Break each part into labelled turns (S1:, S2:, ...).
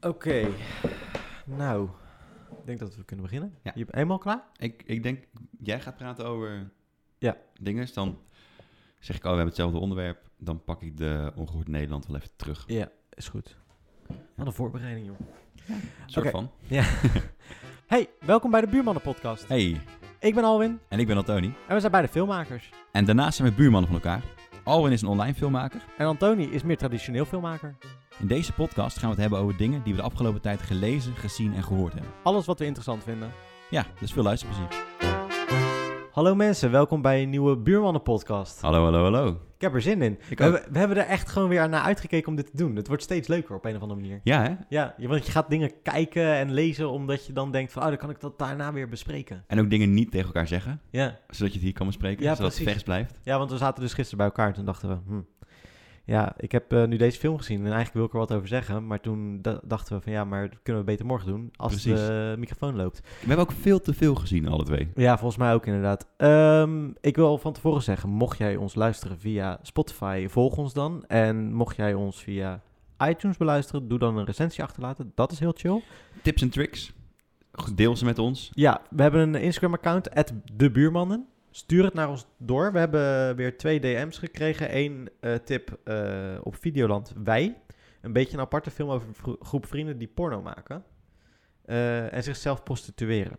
S1: Oké, nou, ik denk dat we kunnen beginnen.
S2: Ja.
S1: Je bent helemaal klaar?
S2: Ik, ik denk, jij gaat praten over
S1: Ja.
S2: dingen. Dan zeg ik, oh, we hebben hetzelfde onderwerp. Dan pak ik de ongehoord Nederland wel even terug.
S1: Ja, is goed. Wat een voorbereiding, joh.
S2: Soort
S1: Oké.
S2: van.
S1: Hey, welkom bij de Buurmannen Podcast.
S2: Hey,
S1: Ik ben Alwin
S2: en ik ben Antoni.
S1: en we zijn beide filmmakers.
S2: En daarnaast zijn we buurmannen van elkaar. Alwin is een online filmmaker.
S1: En Antoni is meer traditioneel filmmaker.
S2: In deze podcast gaan we het hebben over dingen die we de afgelopen tijd gelezen, gezien en gehoord hebben.
S1: Alles wat we interessant vinden.
S2: Ja, dus veel luisterplezier.
S1: Hallo mensen, welkom bij een nieuwe Buurmannen Podcast.
S2: Hallo, hallo, hallo.
S1: Oh. Ik heb er zin in.
S2: Ik
S1: We hebben, we hebben er echt gewoon weer naar uitgekeken om dit te doen. Het wordt steeds leuker op een of andere manier.
S2: Ja, hè?
S1: Ja, je- want je gaat dingen kijken en lezen omdat je dan denkt van, oh, dan kan ik dat daarna weer bespreken.
S2: En ook dingen niet tegen elkaar zeggen,
S1: Ja,
S2: zodat je het hier kan bespreken,
S1: Ja,
S2: zodat
S1: precies.
S2: het vers blijft.
S1: ja want we zaten dus gisteren bij elkaar en toen dachten we, hm, ja, ik heb eh, nu deze film gezien en eigenlijk wil ik er wat over zeggen. Maar toen da- dachten we van, ja, maar dat kunnen we beter morgen doen als
S2: Precies.
S1: de microfoon loopt.
S2: We hebben ook veel te veel gezien, alle twee.
S1: Ja, volgens mij ook inderdaad. Ehm, ik wil van tevoren zeggen, mocht jij ons luisteren via Spotify, volg ons dan. En mocht jij ons via iTunes beluisteren, doe dan een recensie achterlaten. Dat is heel chill.
S2: Tips en tricks, deel ze met ons.
S1: Ja, we hebben een Instagram-account, @debuurmannen. Stuur het naar ons door. We hebben weer twee DM's gekregen. Eén eh, tip eh, op Videoland, Wij. Een beetje een aparte film over een vro- groep vrienden die porno maken. eh, en zichzelf prostitueren.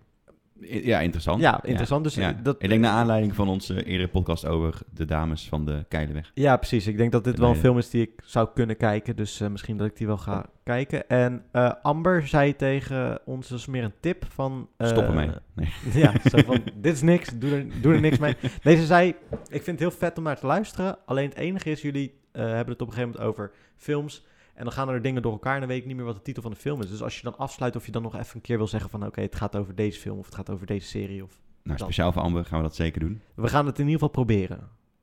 S2: I- Ja, interessant.
S1: Ja, interessant. Dus
S2: Ja.
S1: eh, dat,
S2: ik denk naar aanleiding van onze eerdere podcast over de dames van de Keilenweg.
S1: ja, precies. Ik denk dat dit
S2: De
S1: wel een
S2: meiden.
S1: film is die ik zou kunnen kijken. Dus eh, misschien dat ik die wel ga kijken. En eh, Amber zei tegen ons dus meer een tip van... eh,
S2: Stoppen mee. Nee. nou,
S1: Ja, zo van, dit is niks, doe er, doe er niks mee. Deze zei, ik vind het heel vet om naar te luisteren. Alleen het enige is, jullie eh, hebben het op een gegeven moment over films. En dan gaan er dingen door elkaar en dan weet ik niet meer wat de titel van de film is. Dus als je dan afsluit of je dan nog even een keer wil zeggen van... oké, het gaat over deze film of het gaat over deze serie. Of...
S2: Nou, speciaal voor Amber gaan we dat zeker doen.
S1: We gaan het in ieder geval proberen.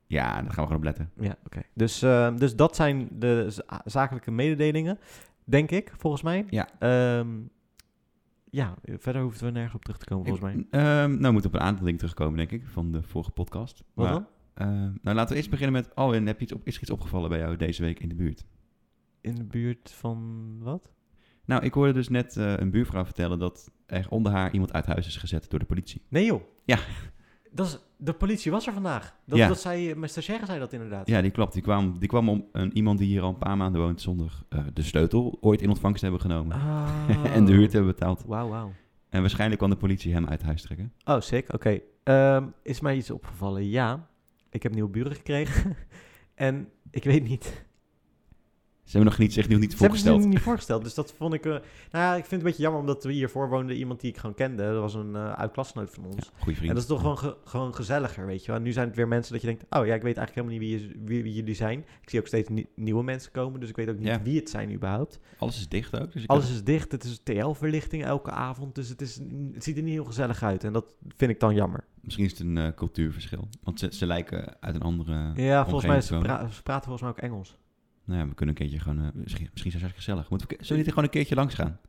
S2: Ja, daar gaan we gewoon op letten.
S1: Ja, oké. Dus, eh, dus dat zijn de za- zakelijke mededelingen, denk ik, volgens mij.
S2: Ja.
S1: Ehm, ja, verder hoeven we nergens op terug te komen, volgens mij.
S2: Ik- ehm, nou, we moeten op een aantal dingen terugkomen, denk ik, van de vorige podcast.
S1: Wat
S2: Maar,
S1: dan?
S2: ehm, nou, laten we eerst beginnen met... Oh, en heb je iets op, is er iets opgevallen bij jou deze week in de buurt?
S1: In de buurt van wat?
S2: Nou, ik hoorde dus net eh, een buurvrouw vertellen dat er onder haar iemand uit huis is gezet door de politie.
S1: Nee joh.
S2: Ja.
S1: Dat is, de politie was er vandaag. Dat,
S2: Ja.
S1: dat zei, mijn stagiaire zei dat inderdaad.
S2: Ja, die klopt. Die kwam, die kwam om een, iemand die hier al een paar maanden woont zonder eh, de sleutel ooit in ontvangst te hebben genomen.
S1: Oh.
S2: en de huur te hebben betaald.
S1: Wauw, wauw.
S2: En waarschijnlijk kwam de politie hem uit huis trekken.
S1: Oh, sick. Oké. Ehm, is mij iets opgevallen? Ja. Ik heb nieuwe buren gekregen. en ik weet niet.
S2: Ze hebben nog niet, zich nog niet
S1: Ze hebben ze
S2: voorgesteld.
S1: nu niet voorgesteld. Dus dat vond ik... eh, nou ja, ik vind het een beetje jammer, omdat we hiervoor woonden iemand die ik gewoon kende. Dat was een eh oud-klasgenoot van ons.
S2: Ja, goeie vriend.
S1: En dat is toch gewoon, ge- gewoon gezelliger, weet je wel. En nu zijn het weer mensen dat je denkt... Oh ja, ik weet eigenlijk helemaal niet wie, je- wie, wie jullie zijn. Ik zie ook steeds nie- nieuwe mensen komen. Dus ik weet ook niet
S2: Ja.
S1: wie het zijn überhaupt.
S2: Alles is dicht ook. Dus ik
S1: Alles is dicht, het is TL-verlichting elke avond, dus het, is, het ziet er niet heel gezellig uit. En dat vind ik dan jammer.
S2: Misschien is het een eh, cultuurverschil. Want ze, ze lijken uit een andere...
S1: Ja, volgens mij, ze,
S2: omgeving
S1: pra- ze praten volgens mij ook Engels.
S2: Nou ja, we kunnen een keertje gewoon... eh, misschien, misschien zijn ze hartstikke gezellig. Moeten we, zullen we niet gewoon een keertje langs gaan?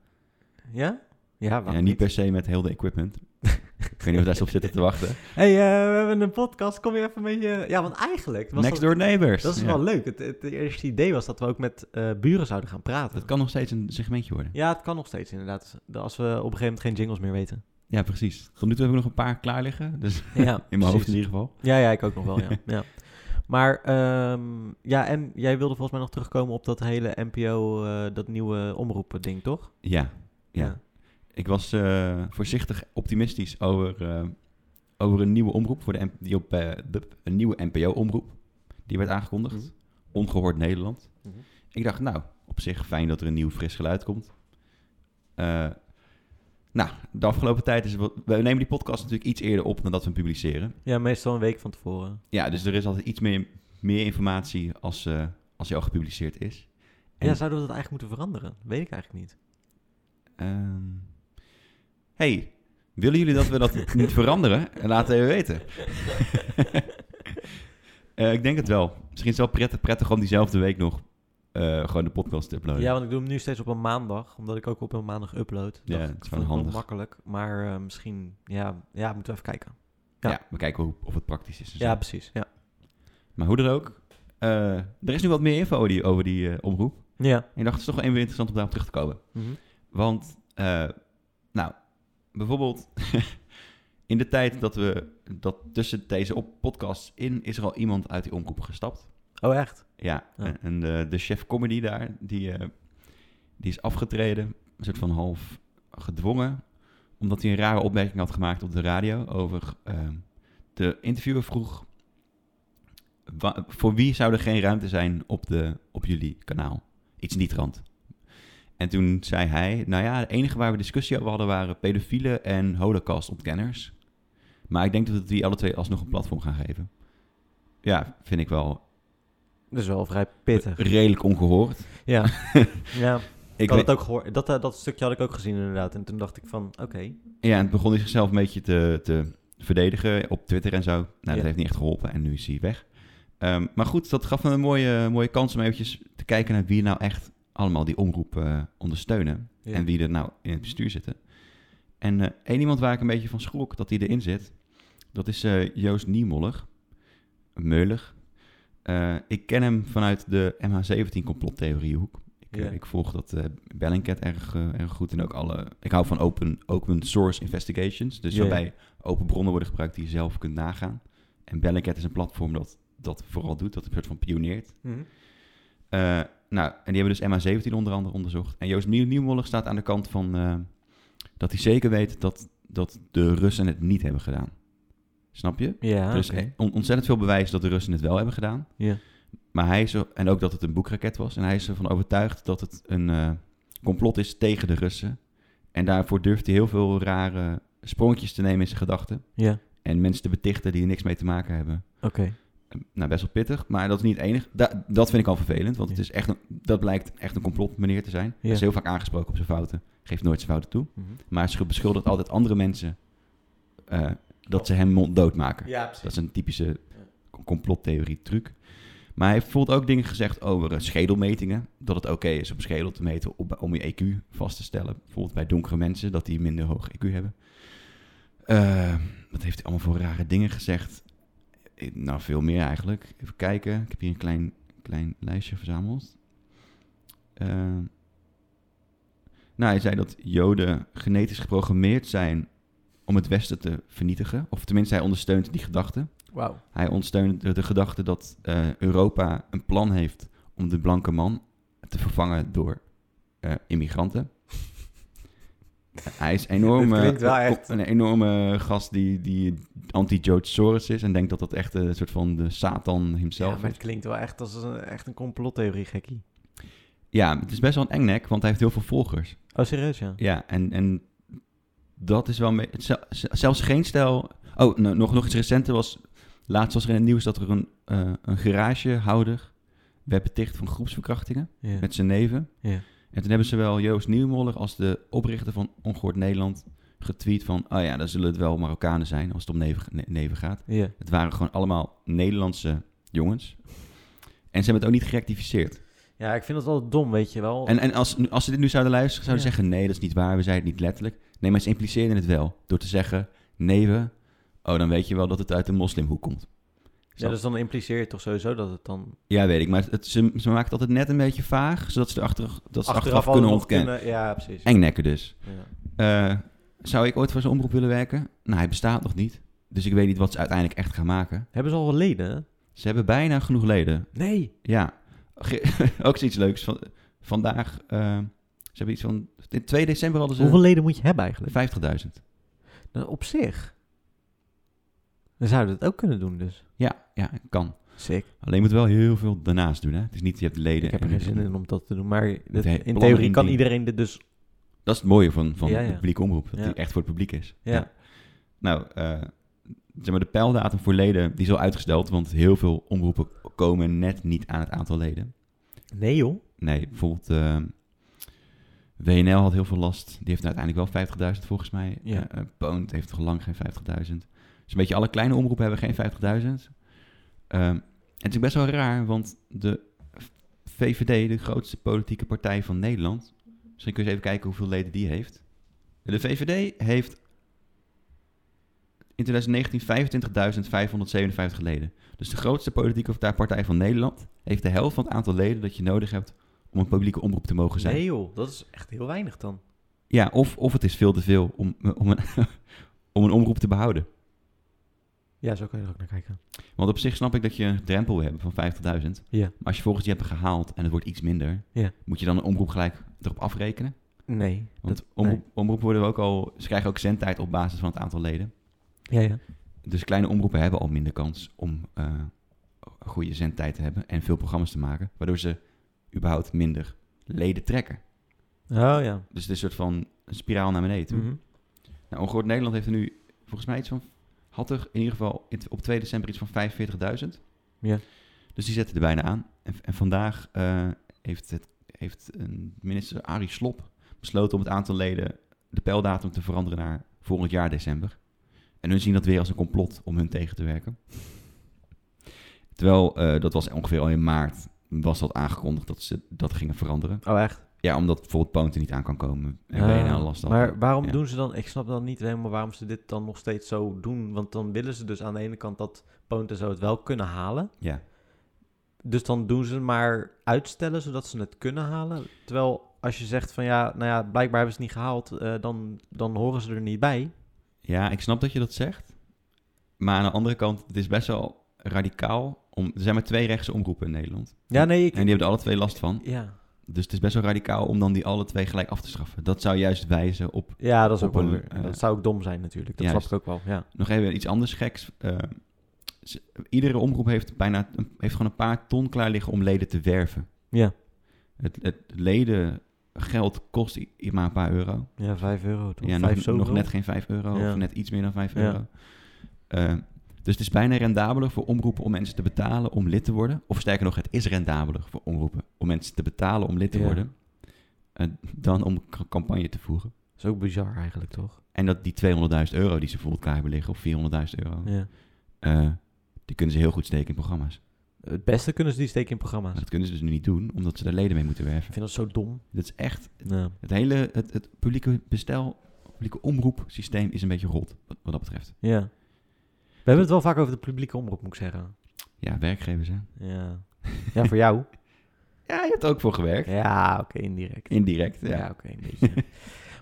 S1: Ja? Ja,
S2: Ja,
S1: waarom
S2: niet,
S1: niet?
S2: per se met heel de equipment. ik weet niet of daar ze op zitten te wachten.
S1: hey, eh, we hebben een podcast, kom je even met je... Ja, want eigenlijk was
S2: Next
S1: dat,
S2: door neighbors.
S1: dat is
S2: Ja.
S1: wel leuk. Het, het eerste idee was dat we ook met eh, buren zouden gaan praten.
S2: Dat kan nog steeds een segmentje worden.
S1: Ja, het kan nog steeds inderdaad, Dus als we op een gegeven moment geen jingles meer weten.
S2: Ja, precies. Tot nu toe heb ik nog een paar klaar liggen. Dus
S1: Ja,
S2: in mijn hoofd in ieder geval.
S1: Ja, ja, ik ook nog wel, ja. ja. Maar ehm, ja, en jij wilde volgens mij nog terugkomen op dat hele NPO, eh, dat nieuwe omroepen ding, toch?
S2: Ja, ja.
S1: Ja.
S2: Ik was eh, voorzichtig optimistisch over, eh, over een nieuwe omroep voor de, NP die op, eh, de een nieuwe NPO-omroep. Die werd aangekondigd.
S1: Mhm.
S2: Ongehoord Nederland.
S1: Mhm.
S2: Ik dacht, nou, op zich fijn dat er een nieuw fris geluid komt. Eh, nou, de afgelopen tijd is... wat- We nemen die podcast natuurlijk iets eerder op dan dat we hem publiceren.
S1: Ja, meestal een week van tevoren.
S2: Ja, dus er is altijd iets meer, meer informatie als, eh als hij al gepubliceerd is. En-
S1: Ja, zouden we dat eigenlijk moeten veranderen? Weet ik eigenlijk niet.
S2: Ehm, hey, willen jullie dat we dat niet veranderen? Laat het even weten. Eh, ik denk het wel. Misschien is het wel prettig, prettig om diezelfde week nog eh, gewoon de podcast te uploaden.
S1: Ja, want ik doe hem nu steeds op een maandag, omdat ik ook op een maandag upload.
S2: Ja,
S1: Dacht
S2: het
S1: ik,
S2: is
S1: vond
S2: gewoon
S1: ik wel
S2: handig.
S1: makkelijk, maar eh, misschien, ja, ja, moeten we even kijken.
S2: Ja,
S1: ja.
S2: we kijken hoe, of het praktisch is. en zo.
S1: Ja, precies. Ja.
S2: Maar hoe dan ook, eh, er is nu wat meer info die- over die eh, omroep.
S1: Ja.
S2: En ik dacht, het is toch wel even interessant om daarop terug te komen.
S1: Mhm.
S2: Want, eh, nou, bijvoorbeeld in de tijd dat we, dat tussen deze op podcasts in, is er al iemand uit die omroep gestapt.
S1: Oh, echt?
S2: Ja,
S1: Ja.
S2: en, en de, de chef comedy daar, die, eh, die is afgetreden, een soort van half gedwongen, omdat hij een rare opmerking had gemaakt op de radio over ehm, de interviewer vroeg, "Wa- voor wie zou er geen ruimte zijn op, de, op jullie kanaal? Iets in die trant. En toen zei hij, nou ja, de enige waar we discussie over hadden waren pedofielen en holocaustontkenners. Maar ik denk dat we die alle twee alsnog een platform gaan geven. Ja, vind ik wel
S1: Dat is wel vrij pittig.
S2: redelijk ongehoord.
S1: Ja. ja.
S2: Ik
S1: Ik had
S2: weet-
S1: het ook gehoord. Dat, eh, dat stukje had ik ook gezien inderdaad. En toen dacht ik van, oké.
S2: ja, en het begon hij zichzelf een beetje te, te verdedigen op Twitter en zo. Nou,
S1: Ja.
S2: dat heeft niet echt geholpen en nu is hij weg. Ehm, maar goed, dat gaf me een mooie, mooie kans om eventjes te kijken naar wie nou echt allemaal die omroep eh, ondersteunen.
S1: Ja.
S2: En wie er nou in het bestuur zitten. En eh, één iemand waar ik een beetje van schrok dat hij erin zit, dat is eh, Joost Niemoller. Meulig. Eh, ik ken hem vanuit de MH17 complottheoriehoek. Ik, eh,
S1: Ja.
S2: ik volg dat eh Bellingcat erg, eh, erg goed en ook alle... Ik hou van open, open source investigations, dus
S1: Ja, ja.
S2: waarbij open bronnen worden gebruikt die je zelf kunt nagaan. En Bellingcat is een platform dat dat vooral doet, dat een soort van pioneert.
S1: Mhm.
S2: Eh, nou, en die hebben dus MH17 onder andere onderzocht. En Joost Nieuw- Nieuwmoller staat aan de kant van eh, dat hij zeker weet dat, dat de Russen het niet hebben gedaan. Snap je?
S1: Ja,
S2: dus
S1: Ah, oké.
S2: eh, on- ontzettend veel bewijs dat de Russen het wel hebben gedaan.
S1: Ja.
S2: Maar hij is er, en ook dat het een boekraket was. En hij is ervan overtuigd dat het een eh, complot is tegen de Russen. En daarvoor durft hij heel veel rare sprongetjes te nemen in zijn gedachten.
S1: Ja,
S2: En mensen te betichten die er niks mee te maken hebben
S1: oké.
S2: nou, best wel pittig. Maar dat is niet het enige. Da- dat vind ik al vervelend, want het
S1: Ja.
S2: is echt een, dat blijkt echt een complot meneer te zijn. Hij
S1: Ja.
S2: is heel vaak aangesproken op zijn fouten. Geeft nooit zijn fouten toe.
S1: Mhm.
S2: Maar hij schu- beschuldigt altijd andere mensen eh, dat ze hem monddood maken.
S1: Ja,
S2: Dat is een typische complottheorie truc. Maar hij heeft bijvoorbeeld ook dingen gezegd over eh, schedelmetingen. Dat het oké is om schedel te meten op- om je EQ vast te stellen. Bijvoorbeeld bij donkere mensen, dat die minder hoog EQ hebben. Eh, wat heeft hij allemaal voor rare dingen gezegd? Eh, Nou, veel meer eigenlijk. Even kijken. Ik heb hier een klein, klein lijstje verzameld. Eh, nou, hij zei dat Joden genetisch geprogrammeerd zijn om het Westen te vernietigen. Of tenminste, hij ondersteunt die gedachte.
S1: Wauw.
S2: Hij ondersteunt de, de gedachte dat eh, Europa een plan heeft om de blanke man te vervangen door eh, immigranten. Hij is enorm,
S1: Dit
S2: eh,
S1: klinkt wel echt-
S2: een enorme gast die, die anti-George Soros is en denkt dat dat echt eh, een soort van de Satan
S1: Ja,
S2: hemzelf
S1: maar
S2: is.
S1: het klinkt wel echt als een, echt een complottheorie gekkie.
S2: Ja, het is best wel een engnek, want hij heeft heel veel volgers.
S1: Oh, serieus, ja?
S2: Ja, en, en dat is wel... een be- het zel- z- Zelfs geen stijl... Oh, nou, nog, nog iets recenter was... Laatst was er in het nieuws dat er een, eh, een garagehouder werd beticht van groepsverkrachtingen
S1: Ja.
S2: met zijn neven.
S1: Ja.
S2: En toen hebben zowel Joost Nieuwmoller als de oprichter van Ongehoord Nederland getweet van... Oh ja, dan zullen het wel Marokkanen zijn als het om neven, ne- neven gaat.
S1: Ja.
S2: Het waren gewoon allemaal Nederlandse jongens. En ze hebben het ook niet gerectificeerd.
S1: ja, ik vind dat altijd dom, weet je wel.
S2: En, en als, nu- als ze dit nu zouden luisteren, zouden ze
S1: Ja.
S2: zeggen: nee, dat is niet waar, we zeiden het niet letterlijk. Nee, maar ze impliceerden het wel door te zeggen: nee, we. Oh, dan weet je wel dat het uit de moslimhoek komt.
S1: ja, dus dan impliceert het toch sowieso dat het dan...
S2: Ja, weet ik, maar het, ze, ze maken het altijd net een beetje vaag, zodat ze, er achter, dat ze achteraf,
S1: al
S2: kunnen
S1: nog
S2: ontkennen.
S1: kunnen- Ja, precies.
S2: Engnekken dus.
S1: Ja.
S2: Eh, zou ik ooit voor zo'n omroep willen werken? Nou, hij bestaat nog niet. Dus ik weet niet wat ze uiteindelijk echt gaan maken.
S1: Hebben ze al wel leden? hè?
S2: Ze hebben bijna genoeg leden.
S1: Nee.
S2: Ja, Ge- ook zoiets leuks. Van, vandaag, eh, ze hebben iets van... 2 december hadden ze...
S1: Hoeveel leden moet je hebben eigenlijk?
S2: 50.000.
S1: Nou, op zich. Dan zouden we het ook kunnen doen, dus.
S2: Ja, ja, kan.
S1: Sick.
S2: Alleen je moet wel heel veel daarnaast doen, hè? Het is niet, je hebt leden...
S1: Ik heb er
S2: en-
S1: geen zin in om dat te doen, maar dit-
S2: hij
S1: in
S2: plannen
S1: theorie kan
S2: indienen.
S1: iedereen dit dus...
S2: Dat is het mooie van, van
S1: Ja,
S2: de
S1: ja.
S2: publieke omroep, dat
S1: Ja.
S2: die echt voor het publiek is.
S1: Ja.
S2: Nou, eh, zeg maar, de pijldatum voor leden, die is al uitgesteld, want heel veel omroepen komen net niet aan het aantal leden.
S1: Nee, joh.
S2: Nee, bijvoorbeeld eh, WNL had heel veel last. Die heeft nou uiteindelijk wel 50.000 volgens mij.
S1: Ja.
S2: Eh, eh, Poont heeft toch lang geen 50.000. Dus een beetje alle kleine omroepen hebben geen 50.000. Ehm, het is ook best wel raar, want de VVD, de grootste politieke partij van Nederland... Misschien kun je eens even kijken hoeveel leden die heeft. De VVD heeft in 2019 25.557 leden. Dus de grootste politieke partij van Nederland heeft de helft van het aantal leden dat je nodig hebt om een publieke omroep te mogen zijn.
S1: Nee joh, dat is echt heel weinig dan.
S2: Ja, of, of het is veel te veel om, om, een, om een omroep te behouden.
S1: Ja, zo kan je er ook naar kijken.
S2: Want op zich snap ik dat je een drempel wil hebben van 50.000.
S1: Ja.
S2: Maar als je volgens je hebt gehaald en het wordt iets minder,
S1: Ja.
S2: moet je dan een omroep gelijk erop afrekenen?
S1: Nee.
S2: Want
S1: dat-
S2: omroep, omroepen worden ook al, ze krijgen ook zendtijd op basis van het aantal leden.
S1: nee. Ja, ja.
S2: Dus kleine omroepen hebben al minder kans om eh, een goede zendtijd te hebben en veel programma's te maken, waardoor ze überhaupt minder leden trekken.
S1: Oh ja.
S2: Dus het is een soort van een spiraal naar beneden toe.
S1: Mhm.
S2: Nou, Ongehoord Nederland heeft er nu volgens mij iets van... had er in ieder geval in- op 2 december iets van 45.000.
S1: Ja.
S2: Dus die zetten er bijna aan. En, en vandaag eh, heeft, het, heeft een minister Arie Slop besloten om het aantal leden... de pijldatum te veranderen naar volgend jaar december. En hun zien dat weer als een complot om hun tegen te werken. Terwijl, eh, dat was ongeveer al in maart, was dat aangekondigd dat ze dat gingen veranderen.
S1: Oh echt?
S2: Ja, omdat bijvoorbeeld Poont er niet aan kan komen. En
S1: Ah,
S2: BNL nou last had.
S1: Maar waarom
S2: Ja.
S1: doen ze dan... Ik snap dan niet helemaal waarom ze dit dan nog steeds zo doen. Want dan willen ze dus aan de ene kant dat Poont en zo het wel kunnen halen.
S2: Ja.
S1: Dus dan doen ze het maar uitstellen zodat ze het kunnen halen. Terwijl als je zegt van ja, nou ja, blijkbaar hebben ze het niet gehaald. eh, dan, dan horen ze er niet bij.
S2: Ja, ik snap dat je dat zegt. Maar aan de andere kant, het is best wel radicaal. Om, er zijn maar twee rechtse omroepen in Nederland.
S1: Ja, nee, ik...
S2: En die hebben er alle twee last van.
S1: Ja,
S2: Dus het is best wel radicaal om dan die alle twee gelijk af te schaffen. Dat zou juist wijzen op...
S1: ja dat is ook
S2: Op
S1: wel
S2: een,
S1: weer-
S2: eh,
S1: Dat zou ook dom zijn natuurlijk. Dat
S2: juist.
S1: snap ik ook wel, ja.
S2: Nog even iets anders geks. Eh, ze- iedere omroep heeft, bijna, heeft gewoon een paar ton klaar liggen om leden te werven.
S1: Ja.
S2: Het, het ledengeld kost i- maar een paar euro.
S1: Ja, 5 euro toch?
S2: Ja, nog,
S1: Vijf zoveel?
S2: nog net geen 5 euro
S1: Ja.
S2: of net iets meer dan 5
S1: Ja.
S2: euro. Eh, dus het is bijna rendabeler voor omroepen om mensen te betalen om lid te worden. Of sterker nog, het is rendabeler voor omroepen om mensen te betalen om lid te
S1: Ja.
S2: worden. eh, dan om ca- campagne te voeren.
S1: is ook bizar eigenlijk toch?
S2: En dat die 200.000 euro die ze bijvoorbeeld klaar hebben liggen, of 400.000 euro,
S1: Ja.
S2: eh, die kunnen ze heel goed steken in programma's.
S1: Het beste kunnen ze die steken in
S2: Maar
S1: programma's.
S2: dat kunnen ze dus nu niet doen, omdat ze daar leden mee moeten
S1: Ik
S2: werven.
S1: vind dat zo dom.
S2: Dat is echt,
S1: Ja.
S2: het hele, het, het publieke bestel, publieke omroepsysteem is een beetje rot, wat, wat dat betreft.
S1: Ja. We hebben het wel vaak over de publieke omroep, moet ik zeggen.
S2: Ja, werkgevers hè.
S1: Ja. Ja, voor jou?
S2: Ja, je hebt er ook voor gewerkt.
S1: Ja, oké, indirect.
S2: Indirect, ja.
S1: Ja, oké, een beetje.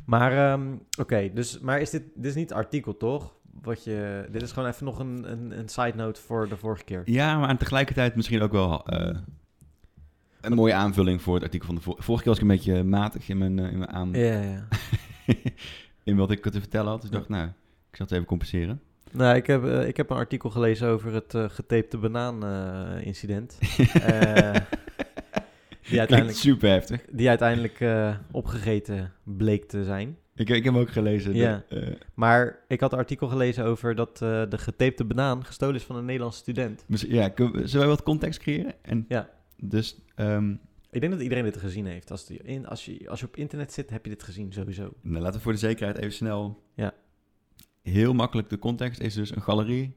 S1: maar, ehm, oké, dus, maar is dit, dit is niet artikel, toch? Wat je, dit is gewoon even nog een, een, een side note voor de vorige keer.
S2: Ja, maar aan tegelijkertijd misschien ook wel eh, een mooie aanvulling voor het artikel van de vor- vorige keer was ik een beetje matig in mijn, eh, in mijn aan...
S1: Ja, ja.
S2: in wat ik te vertellen had. Dus ik dacht, nou, ik zal het even compenseren.
S1: Nou, ik heb, eh, ik heb een artikel gelezen over het eh, getapte banaan-incident. Eh die
S2: Klinkt
S1: uiteindelijk,
S2: super heftig.
S1: die uiteindelijk eh, opgegeten bleek te zijn.
S2: Ik, ik heb hem ook gelezen. de-
S1: Ja.
S2: eh,
S1: Maar ik had een artikel gelezen over dat eh, de getapte banaan gestolen is van een Nederlandse student.
S2: misschien- ja, kunnen we- zullen we wat context creëren? En,
S1: Ja.
S2: Dus ehm,
S1: Ik denk dat iedereen dit gezien heeft. Als, die in, als, je, als je op internet zit, heb je dit gezien sowieso.
S2: nou, laten we voor de zekerheid even snel...
S1: Ja.
S2: Heel makkelijk, de context is dus een galerie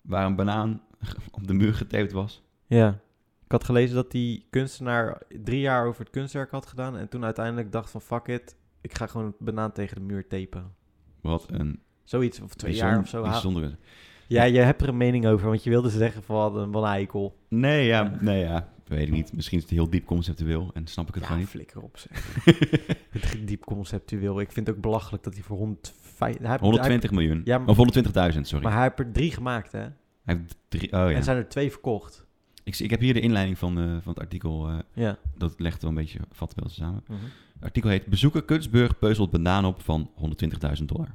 S2: waar een banaan op de muur getaped was.
S1: Ja. Ik had gelezen dat die kunstenaar drie jaar over het kunstwerk had gedaan. En toen uiteindelijk dacht van fuck it, ik ga gewoon een banaan tegen de muur tapen.
S2: Wat een
S1: Zoiets, of twee
S2: bijzon-
S1: jaar of zo. Ha-
S2: bijzondere.
S1: Ja, je hebt er een mening over, want je wilde zeggen van wat een, wat een eikel.
S2: Nee, ja, nee, ja. Weet ik niet. Misschien is het heel diep conceptueel en snap ik het
S1: Ja,
S2: gewoon niet.
S1: flikker op zeg. Het is diep conceptueel. Ik vind het ook belachelijk dat hij voor 105... Hij, heeft- hij-
S2: 120 miljoen.
S1: Ja, maar-
S2: of 120.000, sorry.
S1: maar hij heeft er drie gemaakt, hè?
S2: Hij heeft drie, oh ja.
S1: En zijn er twee verkocht.
S2: Ik, zie- ik heb hier de inleiding van, eh, van het artikel. eh,
S1: Ja.
S2: dat legt wel een beetje, vat wel samen.
S1: Mhm.
S2: Het artikel heet Bezoeker Kunstburg peuzelt banaan op van 120.000 dollar.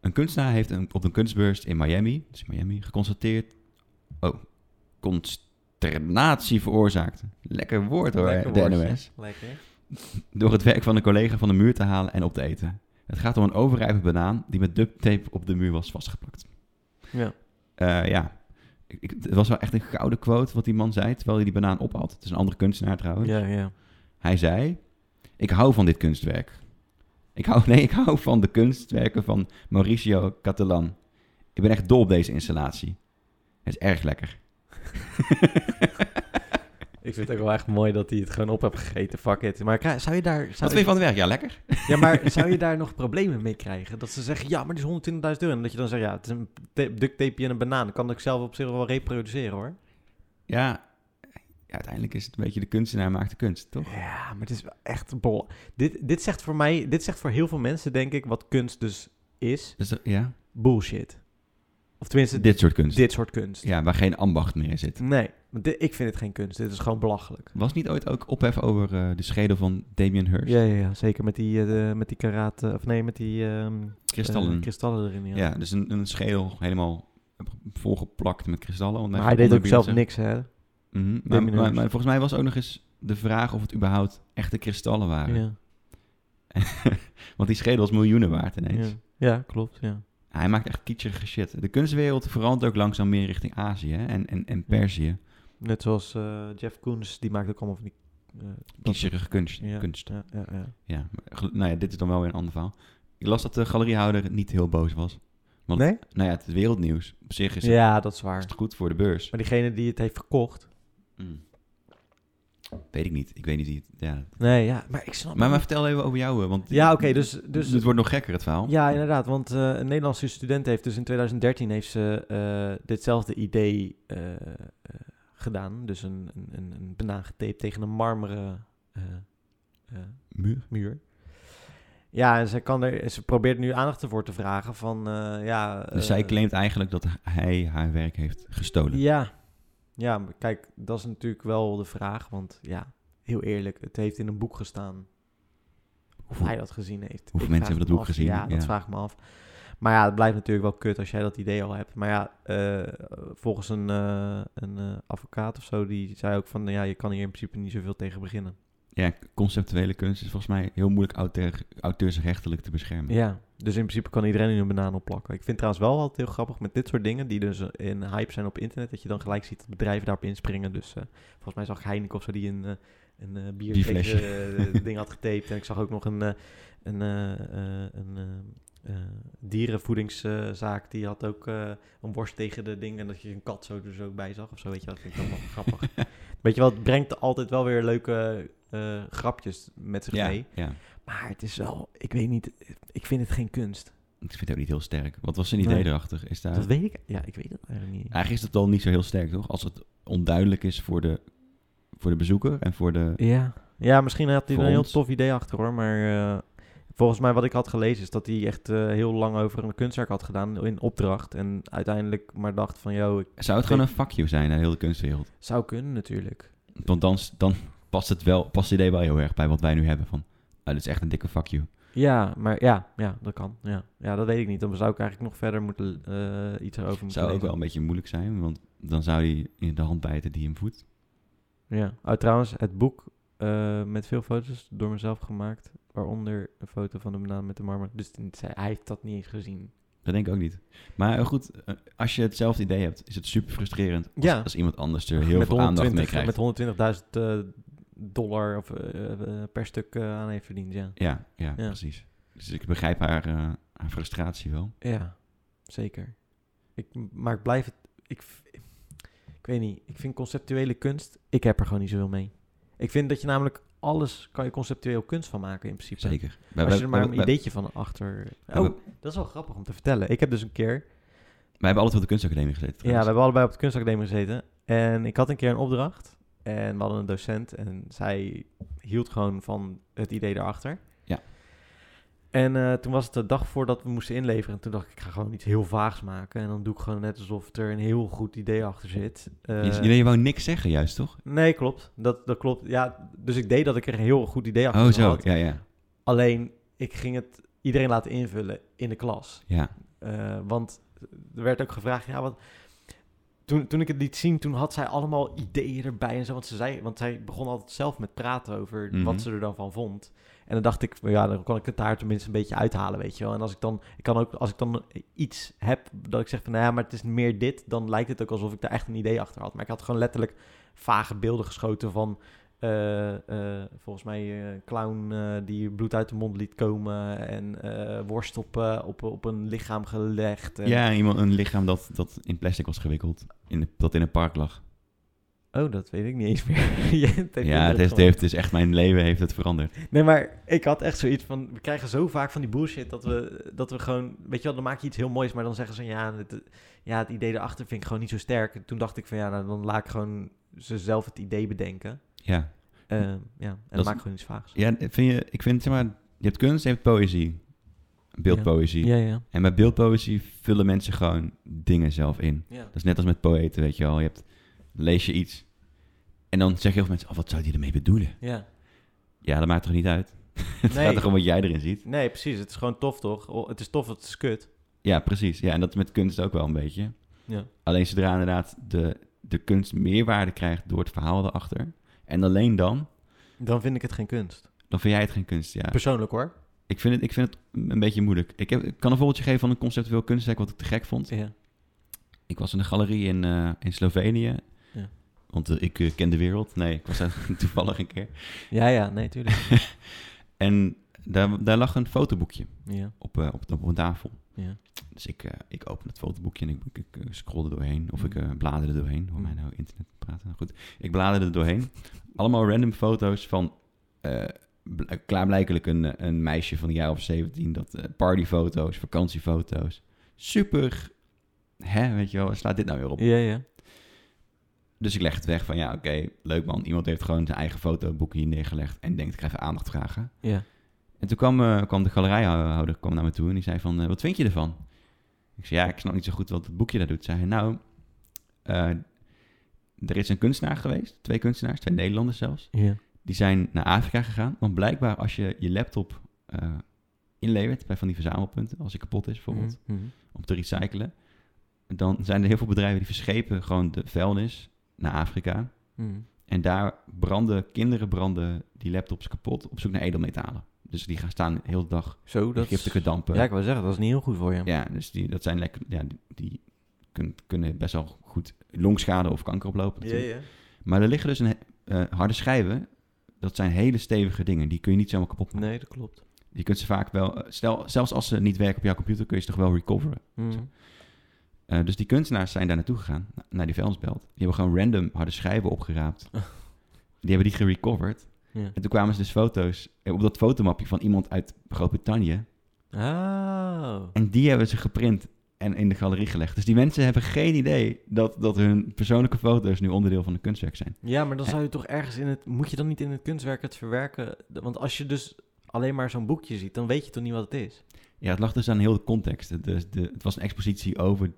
S2: Een kunstenaar heeft een, op een kunstbeurs in Miami, dus in Miami geconstateerd... Oh, consternatie veroorzaakt. Lekker woord hoor,
S1: Lekker
S2: de
S1: woordje.
S2: NOS.
S1: Lekker.
S2: door het werk van een collega van de muur te halen en op te eten. Het gaat om een overrijpe banaan die met duct tape op de muur was vastgeplakt.
S1: Ja.
S2: Eh, ja, ik, ik- het was wel echt een gouden quote wat die man zei terwijl hij die banaan op had. Het is een andere kunstenaar trouwens.
S1: Ja, ja.
S2: Hij zei, ik hou van dit kunstwerk. Ik hou, nee, ik hou van de kunstwerken van Mauricio Catalan. Ik ben echt dol op deze installatie. Het is erg lekker.
S1: Ik vind het ook wel echt mooi dat hij het gewoon op heeft gegeten. Fuck it. Maar kra- zou je daar...
S2: Wat
S1: Zou
S2: vind je van het werk? Ja, lekker.
S1: Ja, maar zou je daar nog problemen mee krijgen? Dat ze zeggen, ja, maar die is 120.000 euro. En dat je dan zegt, ja, het is een ta- duct tapeje en een banaan. Dat kan ik zelf op zich wel reproduceren, hoor.
S2: Ja, uiteindelijk is het een beetje de kunstenaar maakt de kunst, toch?
S1: Ja, maar het is wel echt bol. Dit, dit zegt voor mij, dit zegt voor heel veel mensen, denk ik, wat kunst dus is.
S2: Dus dat- ja,
S1: Bullshit. Of tenminste, dit,
S2: dit soort kunst.
S1: soort kunst.
S2: Ja, waar geen ambacht meer in zit.
S1: Nee, want di- ik vind het geen kunst. Dit is gewoon belachelijk.
S2: Was niet ooit ook ophef over eh, de schedel van Damien Hirst?
S1: Ja, ja, ja, zeker met die, eh, de- met die karaat, eh, of nee, met die ehm,
S2: Kristallen.
S1: eh, kristallen erin. Ja.
S2: ja. dus een, een schedel helemaal volgeplakt met kristallen. want
S1: maar hij deed
S2: vond
S1: ook zelf
S2: dat Beyoncé-
S1: niks, hè?
S2: Mhm, Maar,
S1: Damien
S2: maar-
S1: Hirst.
S2: maar volgens mij was ook nog eens de vraag of het überhaupt echte kristallen waren.
S1: Ja,
S2: Want die schedel is miljoenen waard ineens.
S1: ja. ja, klopt, ja.
S2: Hij maakt echt kitscherige shit. De kunstwereld verandert ook langzaam meer richting Azië hè, en, en, en
S1: Ja.
S2: Perzië.
S1: Net zoals eh, Jeff Koons, die maakt ook allemaal van die... eh, dat soort-
S2: Kitscherige kunst.
S1: ja,
S2: kunst.
S1: Ja, ja, ja.
S2: Ja. maar gel- Nou ja, dit is dan wel weer een ander verhaal. Ik las dat de galeriehouder niet heel boos was. Want-
S1: nee?
S2: Nou ja, het is wereldnieuws. Op zich is het,
S1: Ja, dat is
S2: is
S1: waar.
S2: het goed voor de beurs.
S1: Maar diegene die het heeft verkocht...
S2: Mm. Weet ik niet. Ik weet niet wie het... Ja.
S1: Nee, ja, maar ik snap...
S2: Maar, maar
S1: niet-
S2: vertel even over jou, hè, want...
S1: Ja, oké, dus... dus
S2: het wordt nog gekker, het verhaal.
S1: Ja, inderdaad, want eh, een Nederlandse student heeft dus in 2013 heeft ze eh, ditzelfde idee eh, eh, gedaan. Dus een, een, een, een banaan getaped tegen een marmeren eh, eh,
S2: Muur.
S1: muur. Ja, en ze, kan er, ze probeert nu aandacht ervoor te vragen van, eh, ja...
S2: Dus
S1: eh,
S2: zij claimt eigenlijk dat hij haar werk heeft gestolen.
S1: Ja. ja, maar kijk, dat is natuurlijk wel de vraag, want ja, heel eerlijk, het heeft in een boek gestaan. Of
S2: Hoeveel-
S1: hij dat gezien heeft. Ik
S2: hoeveel mensen
S1: vraag
S2: hebben dat
S1: me
S2: boek
S1: af.
S2: gezien?
S1: Ja, dat
S2: Ja.
S1: vraag ik me af. Maar ja, het blijft natuurlijk wel kut als jij dat idee al hebt. Maar ja, eh, volgens een, eh, een eh, advocaat of zo, die zei ook van, ja, je kan hier in principe niet zoveel tegen beginnen.
S2: Ja, conceptuele kunst is volgens mij heel moeilijk auteur, auteursrechtelijk te beschermen.
S1: Ja, dus in principe kan iedereen nu een banaan opplakken. Ik vind trouwens wel altijd heel grappig met dit soort dingen die dus in hype zijn op internet, dat je dan gelijk ziet dat bedrijven daarop inspringen. Dus eh, volgens mij zag ik Heineken of zo die een, eh, een eh, bier
S2: Bierflesje.
S1: tegen, eh, ding had getaped. En ik zag ook nog een, eh, een, eh, eh, een eh, eh, dierenvoedingszaak die had ook eh, een worst tegen de ding en dat je een kat zo er zo bij zag of zo. Weet je, dat vind ik dan wel grappig. Weet je wel, het brengt altijd wel weer leuke eh, grapjes met zich
S2: ja,
S1: mee.
S2: ja.
S1: Maar het is wel, ik weet niet, ik vind het geen kunst.
S2: Ik vind het ook niet heel sterk. Wat was zijn idee
S1: Nee.
S2: erachter? Is daar...
S1: Dat weet ik, ja, ik weet het eigenlijk niet.
S2: Eigenlijk is het al niet zo heel sterk, toch? Als het onduidelijk is voor de, voor de bezoeker en voor de...
S1: Ja, ja misschien had hij er
S2: Voor
S1: een heel
S2: ons.
S1: tof idee achter hoor, maar eh, volgens mij wat ik had gelezen is dat hij echt eh, heel lang over een kunstwerk had gedaan in opdracht. En uiteindelijk maar dacht van, yo, ik
S2: Zou het gewoon een fuck you zijn naar heel de kunstwereld?
S1: zou kunnen natuurlijk.
S2: Want dan, dan past, het wel, past het idee wel heel erg bij wat wij nu hebben. Van, ah, dit is echt een dikke fuck you.
S1: Mm-hmm. Ja, maar ja, ja dat kan. Ja. ja, dat weet ik niet. Dan zou ik eigenlijk nog verder moeten, eh iets erover moeten
S2: zou ook
S1: lezen.
S2: wel een beetje moeilijk zijn, want dan zou hij in de hand bijten die hem voedt.
S1: Ja. Oh, trouwens, het boek eh, met veel foto's door mezelf gemaakt. Waaronder een foto van de banaan met de marmer. Dus het- zij- hij heeft dat niet eens gezien.
S2: Dat denk ik ook niet. Maar eh, goed, eh, als je hetzelfde idee hebt, is het super frustrerend als,
S1: Ja.
S2: als iemand anders er heel veel aandacht mee krijgt.
S1: Met 120.000 eh, dollar of, eh, eh, per stuk eh, aan heeft verdiend, ja.
S2: Ja, ja,
S1: Ja.
S2: precies. Dus ik begrijp haar, eh, haar frustratie wel.
S1: Ja, zeker. Ik, maar ik blijf het... Ik, v- ik weet niet. Ik vind conceptuele kunst... Ik heb er gewoon niet zoveel mee. Ik vind dat je namelijk alles kan je conceptueel kunst van maken in principe.
S2: Zeker.
S1: Als je er maar
S2: wij-
S1: een
S2: wij-
S1: ideetje van achter...
S2: wij-
S1: Oh, dat is wel grappig om te vertellen. Ik heb dus een keer...
S2: wij hebben altijd op de kunstacademie gezeten.
S1: Ja, we
S2: trouwens.
S1: hebben allebei op de kunstacademie gezeten. En ik had een keer een opdracht. En we hadden een docent. En zij hield gewoon van het idee daarachter.
S2: Ja.
S1: En eh, toen was het de dag voordat we moesten inleveren. En toen dacht ik, ik ga gewoon iets heel vaags maken. En dan doe ik gewoon net alsof er een heel goed idee achter zit. Eh,
S2: je, je, je wou niks zeggen juist, toch?
S1: Nee, klopt. Dat, dat klopt. Ja, dus ik deed dat ik er een heel goed idee achter
S2: Oh zo,
S1: had.
S2: ja, ja.
S1: Alleen, ik ging het iedereen laten invullen in de klas.
S2: ja.
S1: Eh, want er werd ook gevraagd, ja, wat... Toen, toen ik het liet zien, toen had zij allemaal ideeën erbij en zo. Want, ze zei, want zij begon altijd zelf met praten over
S2: Mhm.
S1: wat ze er dan van vond. En dan dacht ik, van, ja, dan kan ik het daar tenminste een beetje uithalen, weet je wel. En als ik dan, ik kan ook, als ik dan iets heb dat ik zeg van, nou ja, maar het is meer dit. Dan lijkt het ook alsof ik daar echt een idee achter had. Maar ik had gewoon letterlijk vage beelden geschoten van... eh, eh, volgens mij eh, clown eh, die bloed uit de mond liet komen en eh, worst op, eh, op, op een lichaam gelegd. En...
S2: ja, iemand, een lichaam dat, dat in plastic was gewikkeld, in de- dat in een park lag.
S1: Oh, dat weet ik niet eens meer. Je hebt echt
S2: ja, het,
S1: indruk
S2: heeft, het heeft dus echt mijn leven heeft het veranderd.
S1: gemaakt. Nee, maar ik had echt zoiets van... We krijgen zo vaak van die bullshit dat we, dat we gewoon... Weet je wel, dan maak je iets heel moois, maar dan zeggen ze... Ja, het, ja, het idee erachter vind ik gewoon niet zo sterk. En toen dacht ik van, ja, nou, dan laat ik gewoon ze zelf het idee bedenken.
S2: Ja.
S1: Ehm, ja. En
S2: Hm. Dat is-
S1: dan maak ik gewoon iets vaags.
S2: ja vind je, ik vind, zeg maar, je hebt kunst en je hebt poëzie. Beeldpoëzie.
S1: Ja, ja.
S2: En bij beeldpoëzie vullen mensen gewoon dingen zelf in.
S1: ja.
S2: Dat is net als met poëten, weet je wel. Je hebt, lees je iets. En dan zeggen heel veel mensen, oh, wat zou die ermee bedoelen?
S1: ja.
S2: Ja, dat maakt toch niet uit? het
S1: Nee.
S2: gaat toch om wat jij erin ziet?
S1: Nee, precies. Het is gewoon tof, toch? Oh, Het is tof, het is kut.
S2: Ja, precies. Ja, en dat is met kunst ook wel een beetje.
S1: Ja.
S2: Alleen zodra inderdaad de, de kunst meerwaarde krijgt door het verhaal erachter. En alleen dan,
S1: Dan vind ik het geen kunst.
S2: dan vind jij het geen kunst. Ja.
S1: Persoonlijk hoor.
S2: Ik, vind het, ik vind het een beetje moeilijk. Ik, heb, ik kan een voorbeeldje geven van een conceptueel kunstwerk wat ik te gek vond.
S1: Ja.
S2: Ik was in een galerie in, eh, in Slovenië.
S1: Ja.
S2: Want eh, ik eh, ken de wereld. Nee, ik was daar toevallig een keer.
S1: Ja, ja, nee, tuurlijk.
S2: En daar, daar lag een fotoboekje
S1: ja,
S2: op, eh, op, op een tafel.
S1: ja.
S2: Dus ik, eh, ik open het fotoboekje en ik, ik, ik, eh, scroll er doorheen. Of
S1: Mm.
S2: ik eh blader er doorheen. Hoor mij
S1: Mm.
S2: nou internet praten. Nou, Goed. Ik blader er doorheen. Allemaal random foto's van eh, bl- klaarblijkelijk een, een meisje van een jaar of 17. Dat eh, partyfoto's, vakantiefoto's. Super. Hè, weet je wel, waar slaat dit nou weer op?
S1: Ja, ja.
S2: Dus ik leg het weg van ja, oké, leuk man. Iemand heeft gewoon zijn eigen fotoboek hier neergelegd en denkt ik ga even aandacht vragen.
S1: Ja.
S2: En toen kwam, eh, kwam de galerijhouder kwam naar me toe en die zei van, eh, wat vind je ervan? Ik zei, ja, ik snap niet zo goed wat het boekje daar doet. Zei hij, nou, eh, er is een kunstenaar geweest, twee kunstenaars, twee Nederlanders zelfs.
S1: Ja.
S2: Die zijn naar Afrika gegaan, want blijkbaar als je je laptop eh, inlevert bij van die verzamelpunten, als die kapot is bijvoorbeeld,
S1: Mhm.
S2: om te recyclen, dan zijn er heel veel bedrijven die verschepen gewoon de vuilnis naar Afrika.
S1: Mhm.
S2: En daar branden, kinderen branden die laptops kapot op zoek naar edelmetalen. Dus die gaan staan heel de dag
S1: Zo, dat is...
S2: giftige dampen.
S1: Ja,
S2: Ja,
S1: ik wil zeggen, dat is niet heel goed voor je.
S2: dus die, dat zijn lekker, ja, die, die kun- kunnen best wel goed longschade of kanker oplopen.
S1: ja,
S2: natuurlijk.
S1: ja.
S2: Maar er liggen dus een, he- eh, harde schijven. Dat zijn hele stevige dingen. Die kun je niet zomaar kapot maken.
S1: Nee, dat klopt.
S2: Je kunt ze vaak wel, eh, stel, zelfs als ze niet werken op jouw computer, kun je ze toch wel recoveren.
S1: Mhm.
S2: Zo. Eh, dus die kunstenaars zijn daar naartoe gegaan, na- naar die vuilnisbelt. Die hebben gewoon random harde schijven opgeraapt.
S1: Oh.
S2: Die hebben die gerecoverd.
S1: Ja.
S2: En toen kwamen ze dus foto's eh, op dat fotomapje van iemand uit Groot-Brittannië.
S1: Oh.
S2: En die hebben ze geprint en in de galerie gelegd. Dus die mensen hebben geen idee dat, dat hun persoonlijke foto's nu onderdeel van een kunstwerk zijn.
S1: Ja, maar dan zou je toch ergens in het... Moet je dan niet in het kunstwerk het verwerken? De- Want als je dus alleen maar zo'n boekje ziet, dan weet je toch niet wat het is?
S2: Ja, het lag dus aan heel de context. Het, dus de, het was een expositie over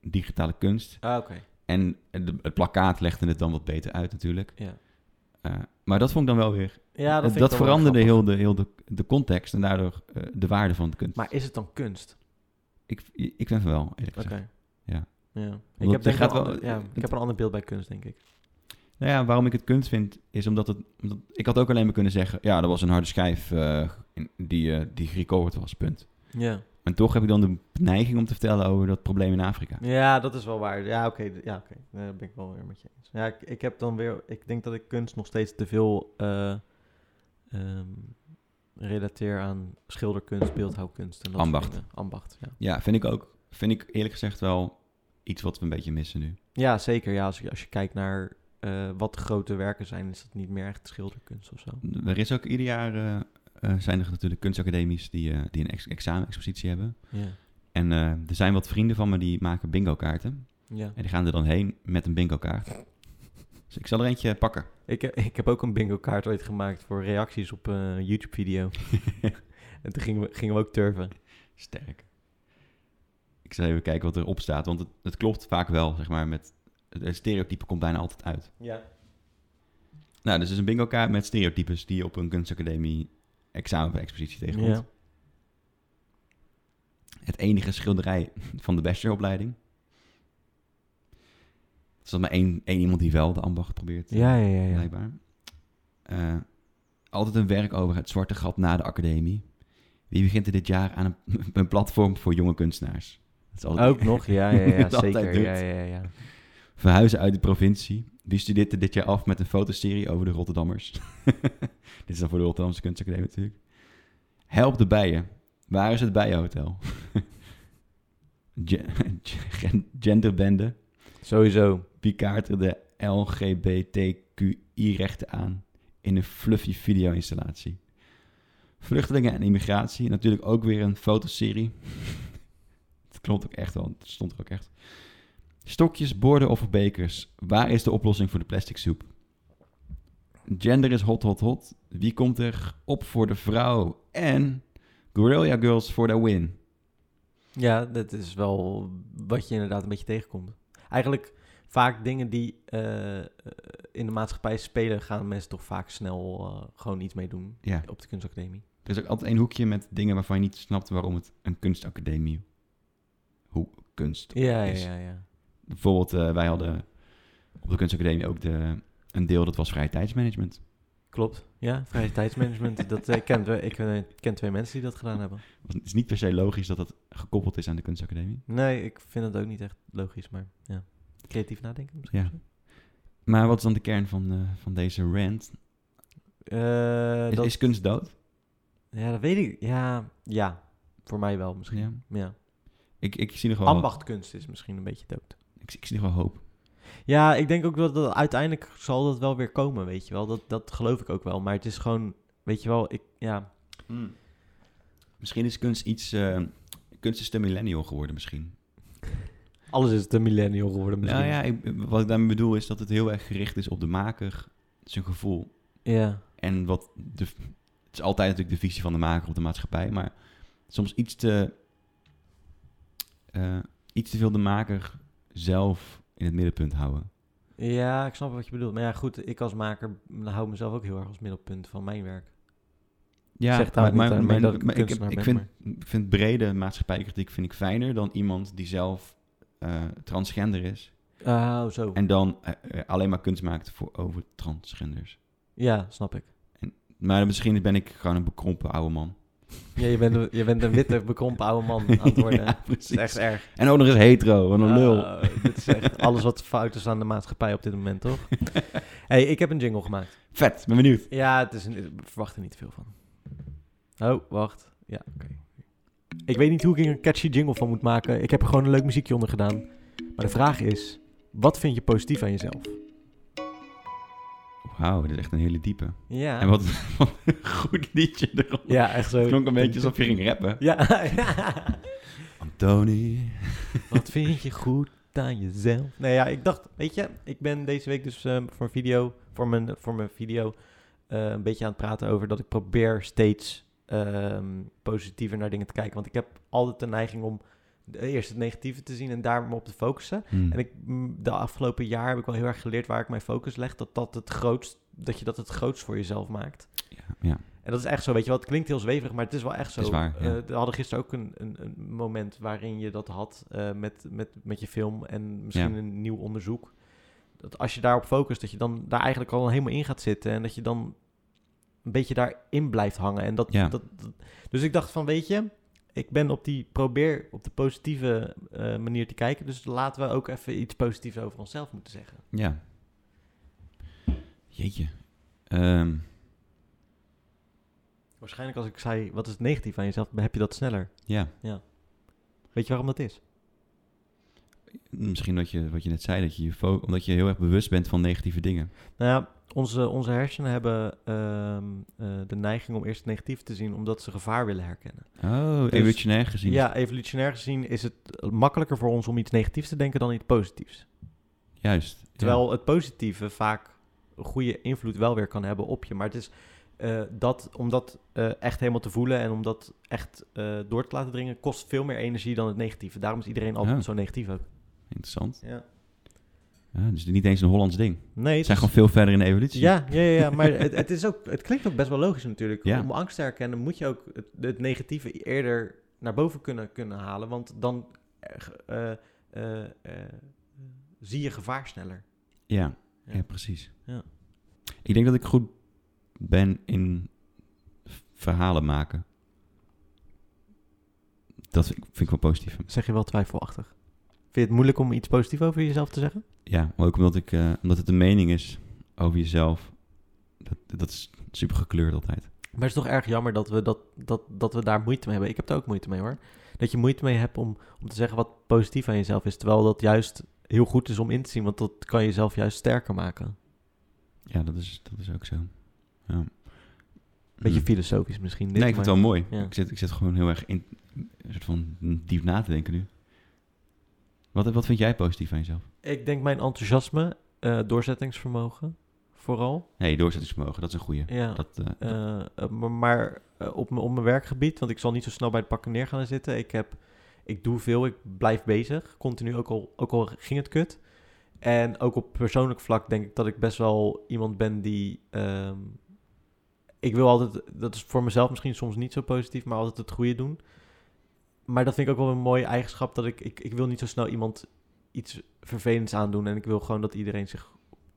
S2: digitale kunst.
S1: Ah, oké.
S2: En het, het plakkaat legde het dan wat beter uit natuurlijk.
S1: Ja.
S2: Eh, maar dat vond ik dan wel weer
S1: Ja, dat,
S2: dat
S1: vind ik dan wel
S2: veranderde
S1: grappig.
S2: heel, de, heel de, de context en daardoor eh, de waarde van de kunst.
S1: Maar is het dan kunst?
S2: ik, ik vind van wel, eerlijk
S1: Oké.
S2: gezegd. Ja.
S1: ja.
S2: je
S1: Ik, heb, denk ik
S2: gaat
S1: wel
S2: wel-
S1: ander- ja, ik
S2: het-
S1: heb een ander beeld bij kunst, denk ik.
S2: Nou ja, waarom ik het kunst vind, is omdat het... Omdat, ik had ook alleen maar kunnen zeggen, ja, er was een harde schijf eh, in- die, eh, die gerecoverd was, punt.
S1: Ja.
S2: En toch heb ik dan de neiging om te vertellen over dat probleem in Afrika.
S1: Ja, dat is wel waar. Ja, oké. d- ja, oké. Nee, dat ben ik wel weer met je eens. Ja, ik, ik heb dan weer... Ik denk dat ik kunst nog steeds te veel eh, ehm, relateer aan schilderkunst, beeldhouwkunst. En dat soort
S2: Ambacht.
S1: dingen. Ambacht, ja.
S2: Ja, vind ik ook. Vind ik eerlijk gezegd wel iets wat we een beetje missen nu.
S1: Ja, zeker. Ja, als, je, als je kijkt naar eh, wat de grote werken zijn, is dat niet meer echt schilderkunst of zo.
S2: Er is ook ieder jaar... eh, eh, zijn er natuurlijk kunstacademies die, eh, die een ex examenexpositie hebben.
S1: Ja.
S2: En eh, er zijn wat vrienden van me die maken bingo kaarten.
S1: ja.
S2: En die gaan er dan heen met een bingo kaart. Dus ik zal er eentje pakken.
S1: Ik, he- ik heb ook een bingo kaart ooit gemaakt voor reacties op een YouTube-video. en toen gingen we, gingen we ook turven.
S2: Sterk. Ik zal even kijken wat erop staat. Want het, het klopt vaak wel, zeg maar, met... Het stereotype komt bijna altijd uit.
S1: Ja.
S2: Nou, dus het is een bingo kaart met stereotypes... die je op een kunstacademie examen of expositie tegenkomt.
S1: Ja.
S2: Het enige schilderij van de bacheloropleiding. Er zat maar één, één iemand die wel de ambacht probeert. eh,
S1: Ja, ja, ja. ja.
S2: blijkbaar. Eh, altijd een werk over het zwarte gat na de academie. Wie begint er dit jaar aan een, een platform voor jonge kunstenaars? Dat is altijd-
S1: Ook nog, ja, ja,
S2: Hoe je
S1: ja,
S2: het altijd
S1: zeker.
S2: doet.
S1: Ja, ja, ja.
S2: Verhuizen uit de provincie. Wie studeert er dit jaar af met een fotoserie over de Rotterdammers? dit is dan voor de Rotterdamse kunstacademie natuurlijk. Help de bijen. Waar is het bijenhotel? Ge- gen- Genderbende.
S1: Sowieso.
S2: Wie kaart er de LGBTQI-rechten aan in een fluffy video-installatie? Vluchtelingen en immigratie, natuurlijk ook weer een fotoserie. Het klopt ook echt wel, het stond er ook echt. Stokjes, borden of bekers. Waar is de oplossing voor de plastic soep? Gender is hot, hot, hot. Wie komt er op voor de vrouw? En Guerrilla Girls voor de win.
S1: Ja, dat is wel wat je inderdaad een beetje tegenkomt. Eigenlijk vaak dingen die eh, eh, in de maatschappij spelen, gaan mensen toch vaak snel eh, gewoon iets mee doen
S2: Ja.
S1: op de kunstacademie.
S2: Er is ook altijd één hoekje met dingen waarvan je niet snapt waarom het een kunstacademie... Hoe kunst
S1: Ja,
S2: is.
S1: ja, ja. ja.
S2: Bijvoorbeeld, eh, wij hadden op de kunstacademie ook de, een deel dat was vrije tijdsmanagement.
S1: Klopt. Ja, vrije tijdsmanagement. dat, eh, ik ken, twee- ik eh, ken twee mensen die dat gedaan hebben.
S2: Het is niet per se logisch dat dat gekoppeld is aan de kunstacademie.
S1: Nee, ik vind het ook niet echt logisch, maar ja. Creatief nadenken misschien.
S2: Ja. Maar wat is dan de kern van, eh, van deze rant?
S1: Eh,
S2: Is,
S1: dat,
S2: is kunst dood?
S1: Ja, dat weet ik. Ja, ja, voor mij wel misschien.
S2: Ja.
S1: Ja.
S2: Ik, ik zie nog wel...
S1: Ambachtkunst is misschien een beetje dood.
S2: Ik, zie- ik zie nog wel hoop.
S1: Ja, ik denk ook dat, dat uiteindelijk zal dat wel weer komen, weet je wel. Dat, dat geloof ik ook wel. Maar het is gewoon, weet je wel, ik, ja.
S2: Hmm. Misschien is kunst iets... eh, kunst is de millennial geworden misschien.
S1: Alles is de millennial geworden misschien.
S2: Nou ja, ik- wat ik daarmee bedoel is dat het heel erg gericht is op de maker, zijn gevoel.
S1: Ja.
S2: En wat de, het is altijd natuurlijk de visie van de maker op de maatschappij, maar soms iets te, eh, iets te veel de maker zelf in het middenpunt houden.
S1: Ja, ik snap wat je bedoelt. Maar ja, goed, ik als maker hou mezelf ook heel erg als middelpunt van mijn werk.
S2: Ja,
S1: Zeg daar niet aan mee dat ik een
S2: ik,
S1: kunstenaar
S2: ik
S1: ben,
S2: vind, ik vind brede maatschappijkritiek vind ik fijner dan iemand die zelf eh, transgender is
S1: Oh, zo.
S2: en dan eh, eh, alleen maar kunst maakt voor over transgenders.
S1: Ja, snap ik.
S2: Maar misschien ben ik gewoon een bekrompen oude man.
S1: Ja, je bent, een- je bent een witte, bekrompen oude man aan het worden.
S2: Ja,
S1: Het is echt
S2: precies.
S1: erg.
S2: En ook nog eens hetero, wat een lul.
S1: Oh, dit is echt alles wat fout is aan de maatschappij op dit moment, toch? hey, ik heb een jingle gemaakt.
S2: Vet, ben benieuwd.
S1: Ja, het is een, ik verwacht er niet veel van. Oh, wacht. Ja, oké. Ik weet niet hoe ik er een catchy jingle van moet maken. Ik heb er gewoon een leuk muziekje onder gedaan. Maar de vraag is, wat vind je positief aan jezelf?
S2: Wauw, dit is echt een hele diepe.
S1: Ja.
S2: En wat, wat een goed liedje erop.
S1: Ja, echt zo.
S2: Het klonk een beetje alsof je ging rappen.
S1: Ja.
S2: Antoni.
S1: Wat vind je goed aan jezelf? Nou ja, ik dacht, weet je, ik ben deze week dus ehm, voor een video, voor mijn, voor mijn video, eh, een beetje aan het praten over dat ik probeer steeds ehm, positiever naar dingen te kijken. Want ik heb altijd de neiging om eerst het negatieve te zien en daar me op te focussen.
S2: Hmm.
S1: En ik, mm, de afgelopen jaar heb ik wel heel erg geleerd waar ik mijn focus leg, dat dat het grootst, dat je dat het grootst voor jezelf maakt.
S2: Ja, ja.
S1: En dat is echt zo, weet je wel. Het klinkt heel zweverig, maar het is wel echt zo.
S2: Het is waar, ja.
S1: Eh, we hadden gisteren ook een, een, een moment waarin je dat had eh, met, met, met je film en misschien
S2: Ja.
S1: een nieuw onderzoek. Dat als je daarop focust, dat je dan daar eigenlijk al helemaal in gaat zitten. En dat je dan een beetje daarin blijft hangen. En dat,
S2: Ja.
S1: dat, dat- dus ik dacht van, weet je, ik ben op die, probeer op de positieve eh, manier te kijken. Dus laten we ook even iets positiefs over onszelf moeten zeggen.
S2: Ja. Jeetje. Ehm,
S1: Waarschijnlijk als ik zei, wat is het negatief aan jezelf, heb je dat sneller.
S2: ja,
S1: Weet je waarom dat is?
S2: misschien dat je, wat je net zei, dat je je fo- omdat je heel erg bewust bent van negatieve dingen.
S1: Nou ja, onze, onze hersenen hebben ehm, eh, de neiging om eerst het negatief te zien, omdat ze gevaar willen herkennen.
S2: Oh,
S1: Dus-
S2: evolutionair gezien. is-
S1: Ja, evolutionair gezien is het makkelijker voor ons om iets negatiefs te denken dan iets positiefs.
S2: Juist. Ja.
S1: Terwijl het positieve vaak een goede invloed wel weer kan hebben op je. Maar het is eh, dat, om dat eh, echt helemaal te voelen en om dat echt eh, door te laten dringen, kost veel meer energie dan het negatieve. Daarom is iedereen altijd
S2: Ja.
S1: zo negatief ook.
S2: Interessant.
S1: Ja.
S2: Ja, dus niet eens een Hollands ding.
S1: Nee,
S2: Het
S1: het is-
S2: zijn gewoon veel verder in de evolutie.
S1: Ja, ja, ja, ja, maar het, het, is ook, het klinkt ook best wel logisch natuurlijk.
S2: Ja.
S1: Om angst te herkennen moet je ook het, het negatieve eerder naar boven kunnen, kunnen halen. Want dan eh, eh, eh, eh, zie je gevaar sneller.
S2: Ja, ja.
S1: Ja.
S2: precies.
S1: Ja.
S2: Ik denk dat ik goed ben in v- verhalen maken. Dat vind ik, vind ik wel positief.
S1: Zeg je wel twijfelachtig. Vind je het moeilijk om iets positiefs over jezelf te zeggen?
S2: Ja, maar ook omdat, ik, eh, omdat het een mening is over jezelf. Dat, dat is super gekleurd altijd.
S1: Maar het is toch erg jammer dat we, dat, dat, dat we daar moeite mee hebben. Ik heb er ook moeite mee hoor. Dat je moeite mee hebt om, om te zeggen wat positief aan jezelf is. Terwijl dat juist heel goed is om in te zien. Want dat kan jezelf juist sterker maken.
S2: Ja, dat is, dat is ook zo. Ja.
S1: Beetje
S2: Hm.
S1: filosofisch misschien. dit,
S2: Nee, ik vind
S1: maar-
S2: het wel mooi.
S1: Ja.
S2: Ik, zit, ik zit gewoon heel erg in, een soort van diep na te denken nu. Wat, wat vind jij positief aan jezelf?
S1: Ik denk mijn enthousiasme, eh, doorzettingsvermogen vooral.
S2: Nee, doorzettingsvermogen, dat is een goeie.
S1: Ja.
S2: Dat, eh,
S1: Eh, eh, maar maar, eh, op, mijn- op mijn werkgebied, want ik zal niet zo snel bij het pakken neer gaan zitten. Ik, heb, ik doe veel, ik blijf bezig, continu, ook al, ook al ging het kut. En ook op persoonlijk vlak denk ik dat ik best wel iemand ben die... ehm, ik wil altijd, dat is voor mezelf misschien soms niet zo positief, maar altijd het goede doen. Maar dat vind ik ook wel een mooie eigenschap, dat ik, ik, ik wil niet zo snel iemand iets vervelends aandoen. En ik wil gewoon dat iedereen zich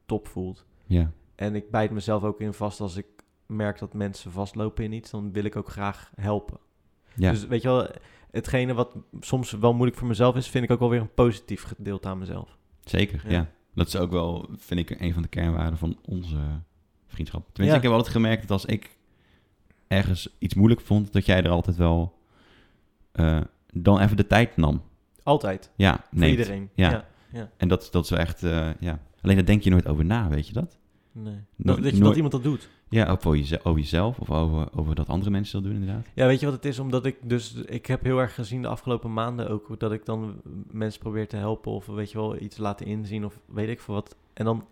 S1: top voelt.
S2: ja.
S1: En ik bijt mezelf ook in vast als ik merk dat mensen vastlopen in iets, dan wil ik ook graag helpen.
S2: Ja.
S1: Dus weet je wel, hetgene wat soms wel moeilijk voor mezelf is, vind ik ook wel weer een positief gedeelte aan mezelf.
S2: Zeker,
S1: Ja.
S2: ja. Dat is ook wel, vind ik, een van de kernwaarden van onze vriendschap. Tenminste,
S1: Ja.
S2: ik heb altijd gemerkt dat als ik ergens iets moeilijk vond, dat jij er altijd wel eh, dan even de tijd nam.
S1: Altijd.
S2: Ja,
S1: Voor
S2: nee.
S1: iedereen.
S2: Ja.
S1: ja.
S2: En dat, dat is wel echt, eh, ja. Alleen daar denk je nooit over na, weet je dat?
S1: Nee.
S2: Nooit-
S1: dat, dat, je, dat
S2: nooit-
S1: iemand dat doet.
S2: Ja, ook voor jeze- over jezelf of over, over dat andere mensen dat doen, inderdaad.
S1: Ja, weet je wat het is? Omdat ik dus, ik heb heel erg gezien de afgelopen maanden ook, dat ik dan mensen probeer te helpen of weet je wel, iets laten inzien of weet ik veel wat. En dan,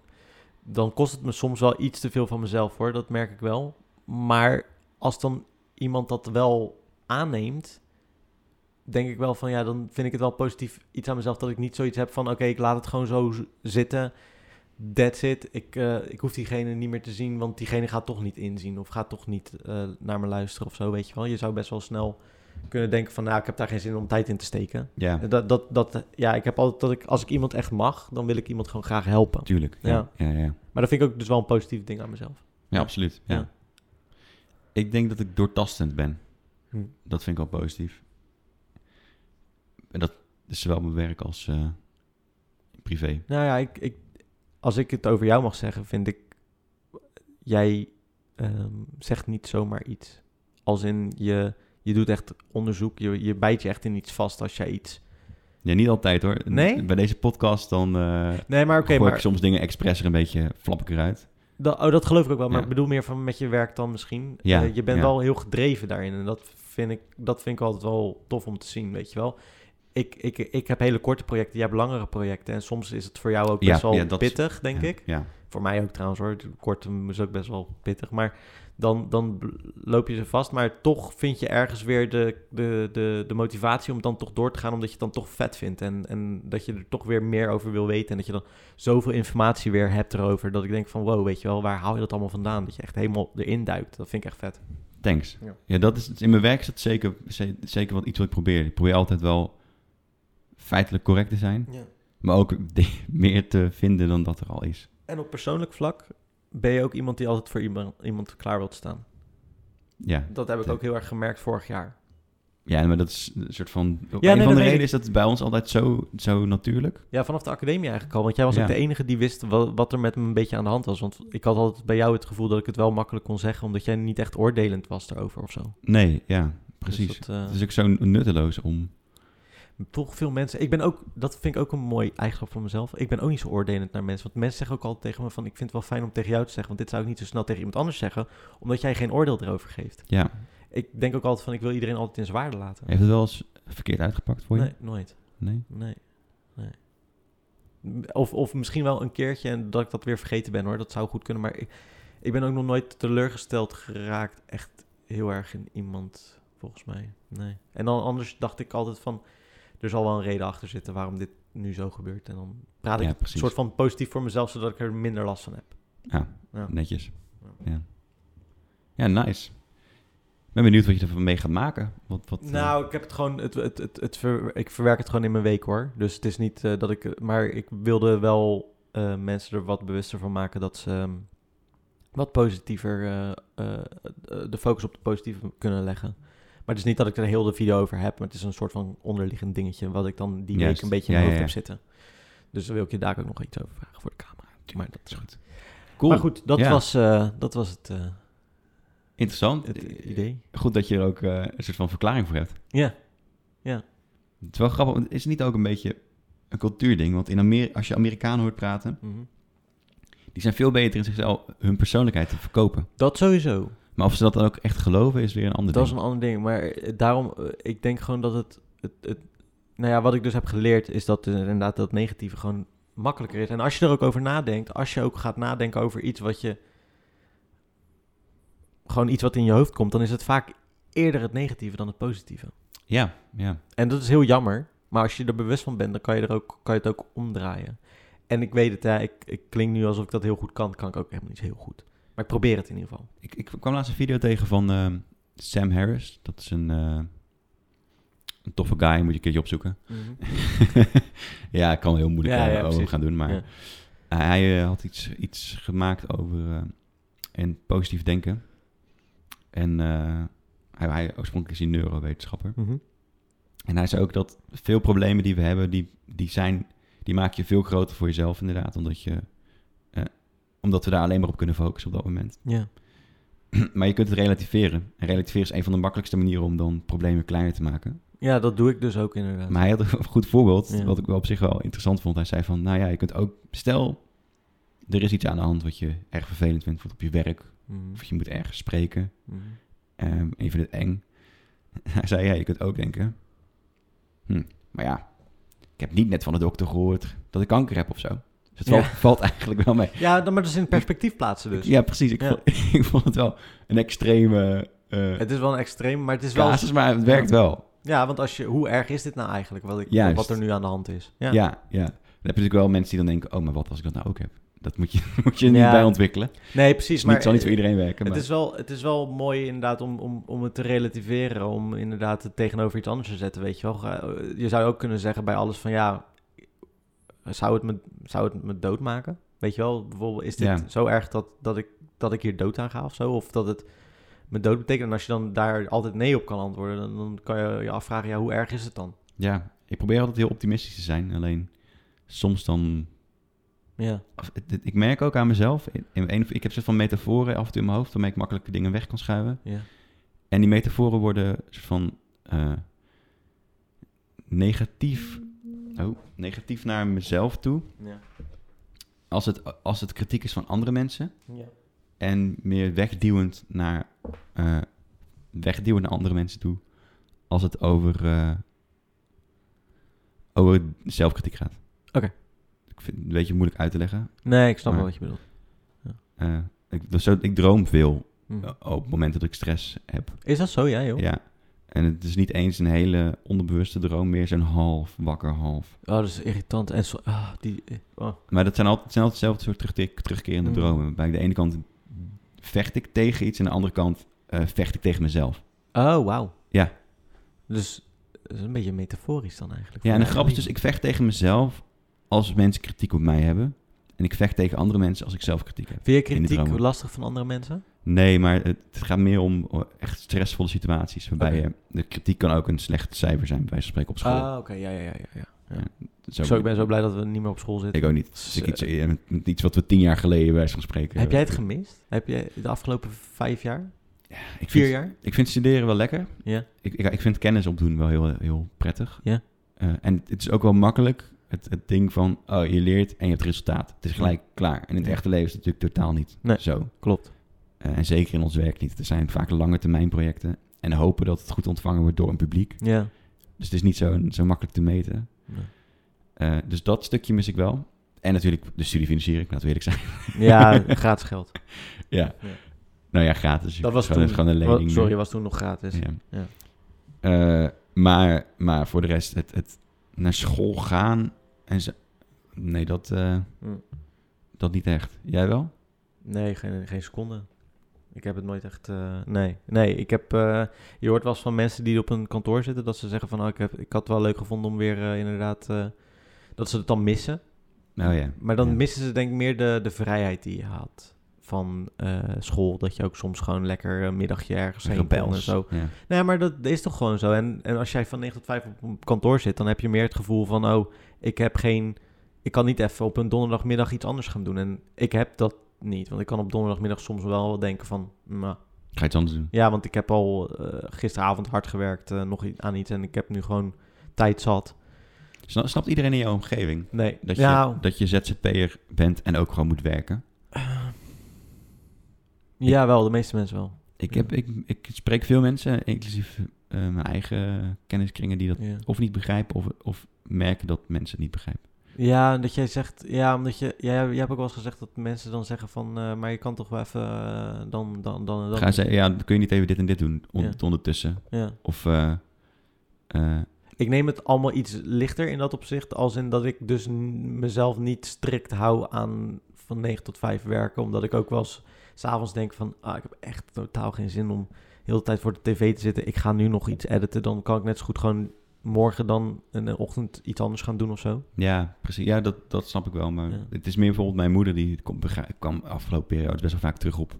S1: dan kost het me soms wel iets te veel van mezelf hoor, dat merk ik wel. Maar als dan iemand dat wel aanneemt, denk ik wel van ja, dan vind ik het wel positief iets aan mezelf dat ik niet zoiets heb van oké, ik laat het gewoon zo z- zitten. That's it. Ik, eh, ik hoef diegene niet meer te zien, want diegene gaat toch niet inzien of gaat toch niet eh, naar me luisteren of zo, weet je wel. Je zou best wel snel kunnen denken van nou, ik heb daar geen zin om tijd in te steken. Eh,
S2: Ja,
S1: Dat, dat, dat, ja, ik heb altijd dat ik, als ik iemand echt mag, dan wil ik iemand gewoon graag helpen.
S2: tuurlijk.
S1: Ja.
S2: Ja, ja, ja.
S1: Maar dat vind ik ook dus wel een positief ding aan mezelf.
S2: Ja,
S1: Ja.
S2: absoluut. Ja.
S1: Ja.
S2: Ik denk dat ik doortastend ben.
S1: Hm.
S2: Dat vind ik wel positief. En dat is zowel mijn werk als eh, privé.
S1: Nou ja, ik, ik, als ik het over jou mag zeggen, vind ik. Jij ehm, zegt niet zomaar iets. Als in je, je doet echt onderzoek, je, je bijt je echt in iets vast als jij iets.
S2: Ja, niet altijd hoor.
S1: Nee?
S2: Bij deze podcast dan eh
S1: Nee, maar oké,
S2: gooi ik
S1: maar
S2: soms dingen expres er een beetje flap ik eruit.
S1: dat, oh, dat geloof ik ook wel. Maar
S2: Ja.
S1: ik bedoel meer van met je werk dan misschien.
S2: Ja,
S1: Eh, je bent
S2: ja.
S1: wel heel gedreven daarin. En dat vind, ik, dat vind ik altijd wel tof om te zien, weet je wel. Ik, ik, ik heb hele korte projecten, jij hebt langere projecten. En soms is het voor jou ook
S2: Ja,
S1: best wel
S2: ja, dat is-
S1: pittig, denk
S2: Ja,
S1: ik.
S2: Ja.
S1: Voor mij ook trouwens hoor. Kort is ook best wel pittig. Maar dan, dan bl- loop je ze vast. Maar toch vind je ergens weer de, de, de, de motivatie om dan toch door te gaan. Omdat je het dan toch vet vindt. En, en dat je er toch weer meer over wil weten. En dat je dan zoveel informatie weer hebt erover. Dat ik denk van wow, weet je wel, waar haal je dat allemaal vandaan? Dat je echt helemaal erin duikt. Dat vind ik echt vet.
S2: Thanks.
S1: Ja.
S2: Ja, dat is, in mijn werk is dat zeker, ze- zeker wat iets wat ik probeer. Ik probeer altijd wel feitelijk correct te zijn. Maar ook de- meer te vinden dan dat er al is.
S1: En op persoonlijk vlak ben je ook iemand die altijd voor iemand, iemand klaar wilt staan.
S2: Ja,
S1: Dat heb ik ook heel erg gemerkt vorig jaar.
S2: ja maar dat is een soort van... Ja,
S1: nee, dat
S2: een van
S1: weet
S2: de
S1: ik.
S2: redenen is dat het bij ons altijd zo, zo natuurlijk.
S1: Ja, vanaf de academie eigenlijk al. Want jij was
S2: Ja.
S1: ook de enige die wist wa- wat, er met me een beetje aan de hand was. Want ik had altijd bij jou het gevoel dat ik het wel makkelijk kon zeggen, omdat jij niet echt oordelend was daarover of zo.
S2: Nee, ja,
S1: Dus
S2: precies.
S1: dat, eh,
S2: Het is ook zo nutteloos om...
S1: toch veel mensen. Ik ben ook, dat vind ik ook een mooi eigenschap van mezelf. Ik ben ook niet zo oordelend naar mensen. Want mensen zeggen ook altijd tegen me van ik vind het wel fijn om tegen jou te zeggen. Want dit zou ik niet zo snel tegen iemand anders zeggen. Omdat jij geen oordeel erover geeft.
S2: Ja,
S1: Ik denk ook altijd van ik wil iedereen altijd in zijn waarde laten.
S2: heeft het wel eens verkeerd uitgepakt voor je?
S1: Nee, nooit.
S2: Nee?
S1: Nee, nee. Of, of misschien wel een keertje en dat ik dat weer vergeten ben hoor. Dat zou goed kunnen. Maar ik, ik ben ook nog nooit teleurgesteld geraakt. Echt heel erg in iemand, volgens mij. Nee. En dan anders dacht ik altijd van... Er zal wel een reden achter zitten waarom dit nu zo gebeurt. En dan praat ik
S2: Ja,
S1: een
S2: precies.
S1: soort van positief voor mezelf... zodat ik er minder last van heb.
S2: Ja,
S1: Ja.
S2: Ah, netjes. Ja. ja, nice. Ik ben benieuwd wat je ervan mee gaat maken. Wat, wat, eh,
S1: Nou, ik heb het gewoon. Het, het, het, het ver- ik verwerk het gewoon in mijn week hoor. Dus het is niet eh, dat ik. Maar ik wilde wel eh, mensen er wat bewuster van maken dat ze ehm, wat positiever eh, eh, de focus op de positieve kunnen leggen. Maar het is niet dat ik er heel de video over heb. Maar het is een soort van onderliggend dingetje. Wat ik dan die week
S2: Juist.
S1: een beetje in mijn
S2: Ja, ja,
S1: hoofd heb
S2: ja.
S1: zitten. Dus dan wil ik je daar ook nog iets over vragen voor de camera. Maar dat is goed.
S2: cool.
S1: Maar goed, dat,
S2: Ja.
S1: was, eh, dat was het, eh,
S2: Interessant.
S1: het idee.
S2: Goed dat je er ook eh, een soort van verklaring voor hebt.
S1: Ja.
S2: Het is wel grappig, want is het niet ook een beetje een cultuurding? Want in Amer als je Amerikanen hoort praten,
S1: Mhm.
S2: die zijn veel beter in zichzelf hun persoonlijkheid te verkopen.
S1: Dat sowieso.
S2: Maar of ze dat dan ook echt geloven, is weer een ander
S1: Dat is
S2: ding.
S1: een ander ding. Maar eh, daarom, eh, ik denk gewoon dat het, het, het nou ja, wat ik dus heb geleerd is dat eh, inderdaad dat negatieve gewoon makkelijker is. En als je er ook over nadenkt, als je ook gaat nadenken over iets wat je. gewoon iets wat in je hoofd komt, dan is het vaak eerder het negatieve dan het positieve.
S2: Ja, ja.
S1: En dat is heel jammer. Maar als je er bewust van bent, dan kan je, er ook, kan je het ook omdraaien. En ik weet het, ja, ik, ik klink nu alsof ik dat heel goed kan. Kan ik ook helemaal niet heel goed. Maar ik probeer het in ieder geval.
S2: Ik, ik kwam laatst een video tegen van ehm, Sam Harris. Dat is een, eh, een toffe guy, moet je een keertje opzoeken. ja, ik kan heel moeilijk
S1: Ja,
S2: eh,
S1: ja,
S2: over
S1: precies.
S2: gaan doen, maar
S1: Ja.
S2: hij eh, had iets, iets gemaakt over eh, en positief denken. En eh, hij, hij oorspronkelijk is hij neurowetenschapper.
S1: Mhm.
S2: En hij zei ook dat veel problemen die we hebben, die, die, zijn, die maak je veel groter voor jezelf inderdaad. Omdat, je, eh, omdat we daar alleen maar op kunnen focussen op dat moment.
S1: Ja.
S2: maar je kunt het relativeren. En relativeren is een van de makkelijkste manieren om dan problemen kleiner te maken.
S1: ja, dat doe ik dus ook inderdaad.
S2: Maar hij had een goed voorbeeld,
S1: Ja.
S2: wat ik wel op zich wel interessant vond. Hij zei van, nou ja, je kunt ook, stel er is iets aan de hand wat je erg vervelend vindt, bijvoorbeeld op je werk.
S1: Mhm.
S2: Of je moet ergens spreken.
S1: Mhm.
S2: Ehm, en je vindt het eng. Hij zei, ja, je kunt ook denken. Hm, maar ja, ik heb niet net van de dokter gehoord dat ik kanker heb of zo. Dus het
S1: Ja.
S2: valt, valt eigenlijk wel mee.
S1: Ja, dan- maar dat is in perspectief plaatsen dus.
S2: Ja, precies. Ik,
S1: Ja.
S2: Vond, ik vond het wel een extreme eh
S1: Het is wel een extreem, maar het is wel...
S2: casus, maar het werkt wel.
S1: Ja, want als je, hoe erg is dit nou eigenlijk, wat, ik,
S2: Juist.
S1: wat er nu aan de hand is?
S2: Ja.
S1: Ja.
S2: ja, Dan heb je natuurlijk wel mensen die dan denken, oh, maar wat als ik dat nou ook heb? Dat moet je, moet je
S1: Ja.
S2: niet bij ontwikkelen. Dus
S1: Nee, precies.
S2: niet,
S1: maar eh,
S2: het zal niet voor iedereen werken.
S1: het,
S2: maar-
S1: is wel, het is wel mooi inderdaad om, om, om het te relativeren, om inderdaad het tegenover iets anders te zetten, weet je wel. Ga- eh, Je zou ook kunnen zeggen bij alles van, ja, zou het me, zou het me doodmaken? Weet je wel, bijvoorbeeld, is dit
S2: Ja.
S1: zo erg dat, dat, ik, dat ik hier dood aan ga of zo? Of dat het me dood betekent? En als je dan daar altijd nee op kan antwoorden, dan, dan kan je je afvragen, ja, hoe erg is het dan?
S2: Ja, ik probeer altijd heel optimistisch te zijn. Alleen soms dan
S1: Ja.
S2: Of- het- het- Ik merk ook aan mezelf, in, in een, of- ik heb soort van metaforen af en toe in mijn hoofd waarmee ik makkelijke dingen weg kan schuiven.
S1: Ja.
S2: En die metaforen worden soort van eh, negatief, oh, negatief naar mezelf toe.
S1: Ja.
S2: Als het, als het kritiek is van andere mensen
S1: Ja.
S2: en meer wegduwend naar, eh wegduwend naar andere mensen toe. Als het over, eh, over zelfkritiek gaat.
S1: Oké.
S2: Ik vind het een beetje moeilijk uit te leggen.
S1: Nee, ik snap
S2: Maar-
S1: wel wat je bedoelt.
S2: Eh, ik, dus zo- ik droom veel
S1: Hm.
S2: Uh, op het moment dat ik stress heb.
S1: Is dat zo? Ja, joh.
S2: Ja. En het is niet eens een hele onderbewuste droom, meer zo'n half wakker half.
S1: Oh, dat is irritant. En zo, ah, die, eh, oh.
S2: Maar dat zijn altijd, het zijn altijd hetzelfde soort terugte- terugkerende
S1: Mm.
S2: dromen. Waarbij ik de ene kant vecht ik tegen iets en aan de andere kant eh, vecht ik tegen mezelf.
S1: Oh, wauw.
S2: Ja.
S1: Dus dat is een beetje metaforisch dan eigenlijk.
S2: Ja, en de
S1: Voor
S2: grap is dus, ik vecht tegen mezelf als mensen kritiek op mij hebben. En ik vecht tegen andere mensen als ik zelf kritiek heb.
S1: Vind je
S2: in de
S1: kritiek
S2: dromen.
S1: lastig van andere mensen?
S2: Nee, maar het het gaat meer om eh, echt stressvolle situaties.
S1: Oké.
S2: Waarbij je, de kritiek kan ook een slecht cijfer zijn, bij wijze van spreken op school.
S1: Ah, oké. Ja, ja, ja. ja, ja.
S2: Zo-
S1: Zo, ik ben zo blij dat we niet meer op school zitten.
S2: Ik ook niet.
S1: Dus,
S2: Dus ik
S1: eh,
S2: iets, eh, iets wat we tien jaar geleden bij wijze van spreken.
S1: Heb jij het gemist? Heb je de afgelopen vijf jaar? Vier
S2: ik vind,
S1: jaar?
S2: Ik vind studeren wel lekker.
S1: Ja.
S2: Ik, ik, ik vind kennis opdoen wel heel, heel prettig.
S1: Ja.
S2: Eh, en het is ook wel makkelijk. Het, het ding van, oh, je leert en je hebt resultaat. Het is gelijk klaar. En in het
S1: Ja.
S2: echte leven is het natuurlijk totaal niet
S1: Nee.
S2: zo.
S1: Klopt.
S2: Eh, en zeker in ons werk niet. Er zijn vaak lange termijn projecten. En hopen dat het goed ontvangen wordt door een publiek.
S1: Ja.
S2: Dus het is niet zo, zo makkelijk te meten. Eh, dus dat stukje mis ik wel. En natuurlijk de studiefinanciering, laten we eerlijk zijn.
S1: Ja, gratis geld.
S2: ja.
S1: Ja.
S2: Nou ja, gratis.
S1: Dat was
S2: gewoon,
S1: toen.
S2: gewoon een
S1: Wa-
S2: lening.
S1: Sorry, was toen nog gratis.
S2: Ja.
S1: Ja.
S2: Eh, maar, maar voor de rest, het, het naar school gaan en ze. Nee, dat, eh,
S1: Mm.
S2: dat niet echt. Jij wel?
S1: Nee, geen, geen seconde. Ik heb het nooit echt. eh, nee, nee. Ik heb. eh, je hoort wel eens van mensen die op een kantoor zitten dat ze zeggen van, oh, ik, heb, ik had het wel leuk gevonden om weer eh, inderdaad. eh, dat ze het dan missen.
S2: Nou ja.
S1: Maar dan
S2: Ja.
S1: missen ze denk ik meer de, de vrijheid die je had van eh, school. Dat je ook soms gewoon lekker een middagje ergens heen kon en
S2: Rebels.
S1: zo.
S2: Ja.
S1: Nee, maar dat is toch gewoon zo. En, en als jij van 9 tot 5 op een kantoor zit, dan heb je meer het gevoel van... oh, ik heb geen... ik kan niet even op een donderdagmiddag iets anders gaan doen. En ik heb dat niet, want ik kan op donderdagmiddag soms wel denken van... "Nou,
S2: Ga iets anders doen.
S1: ja, want ik heb al eh, gisteravond hard gewerkt eh, nog i- aan iets... en ik heb nu gewoon tijd zat.
S2: Sna- snapt iedereen in jouw omgeving
S1: Nee,
S2: dat je,
S1: ja,
S2: dat je ZZP'er bent en ook gewoon moet werken?
S1: ja, wel, de meeste mensen wel.
S2: Ik,
S1: Ja.
S2: heb, ik, ik spreek veel mensen, inclusief eh, eh, mijn eigen kenniskringen die dat
S1: Ja.
S2: of niet begrijpen of, of merken dat mensen het niet begrijpen.
S1: ja, dat jij zegt, ja, omdat je, jij, jij hebt ook wel eens gezegd dat mensen dan zeggen van, eh, maar je kan toch wel even eh, dan, dan, dan en dan.
S2: Gaan ze, ja, dan kun je niet even dit en dit doen on-
S1: Ja.
S2: ondertussen.
S1: Ja.
S2: Of eh, eh,
S1: Ik neem het allemaal iets lichter in dat opzicht, als in dat ik dus n- mezelf niet strikt hou aan van 9 tot 5 werken, omdat ik ook wel eens 's avonds denk van, ah, ik heb echt totaal geen zin om heel de tijd voor de tv te zitten. Ik ga nu nog iets editen, dan kan ik net zo goed gewoon morgen dan in de ochtend iets anders gaan doen of zo.
S2: Ja, precies. Ja, dat, dat snap ik wel. Maar
S1: Ja.
S2: het is meer bijvoorbeeld mijn moeder, die komt, begra- kwam afgelopen periode best wel vaak terug op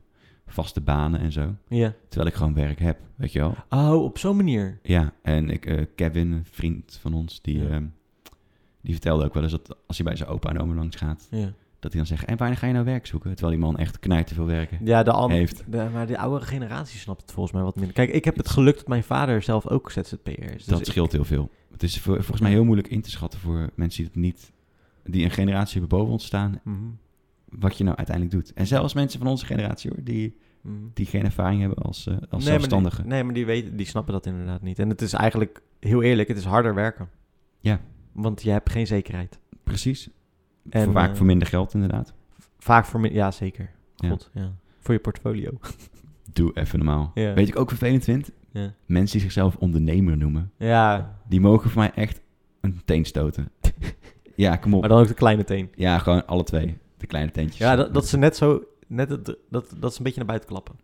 S2: vaste banen en zo.
S1: Ja.
S2: Terwijl ik gewoon werk heb, weet je wel.
S1: Oh, op zo'n manier.
S2: Ja, en ik, eh, Kevin, een vriend van ons, die,
S1: Ja.
S2: ehm, die vertelde ook wel eens dat als hij bij zijn opa en oma langs gaat,
S1: Ja,
S2: dat hij dan zegt, en wanneer ga je nou werk zoeken? Terwijl die man echt knijt te veel werken.
S1: ja de an-
S2: Heeft.
S1: de- maar de oudere generatie snapt het volgens mij wat minder. Kijk, ik heb het geluk dat mijn vader zelf ook ZZP'er is.
S2: dat
S1: Dus
S2: scheelt heel veel. Het is voor- volgens mij heel moeilijk in te schatten voor mensen die het niet, die een generatie hebben boven ons staan,
S1: Mhm,
S2: wat je nou uiteindelijk doet. En zelfs mensen van onze generatie hoor, die
S1: mhm.
S2: die geen ervaring hebben als, eh, als
S1: maar die-
S2: zelfstandige.
S1: nee, maar die, weten, die snappen dat inderdaad niet. En het is eigenlijk, heel eerlijk, het is harder werken.
S2: Ja.
S1: Want je hebt geen zekerheid.
S2: Precies.
S1: En,
S2: voor vaak
S1: eh,
S2: voor minder geld inderdaad.
S1: Vaak voor... mi- Ja, zeker.
S2: Ja.
S1: God, ja. Voor je portfolio.
S2: Doe even normaal.
S1: Ja.
S2: Weet ik ook vervelend vind?
S1: Ja.
S2: Mensen die zichzelf ondernemer noemen,
S1: Ja,
S2: die mogen voor mij echt een teen stoten. ja, kom op.
S1: maar dan ook de kleine teen.
S2: Ja, gewoon alle twee. De kleine teentjes.
S1: Ja, dat, dat ze net zo... Net het, dat, dat ze een beetje naar buiten klappen.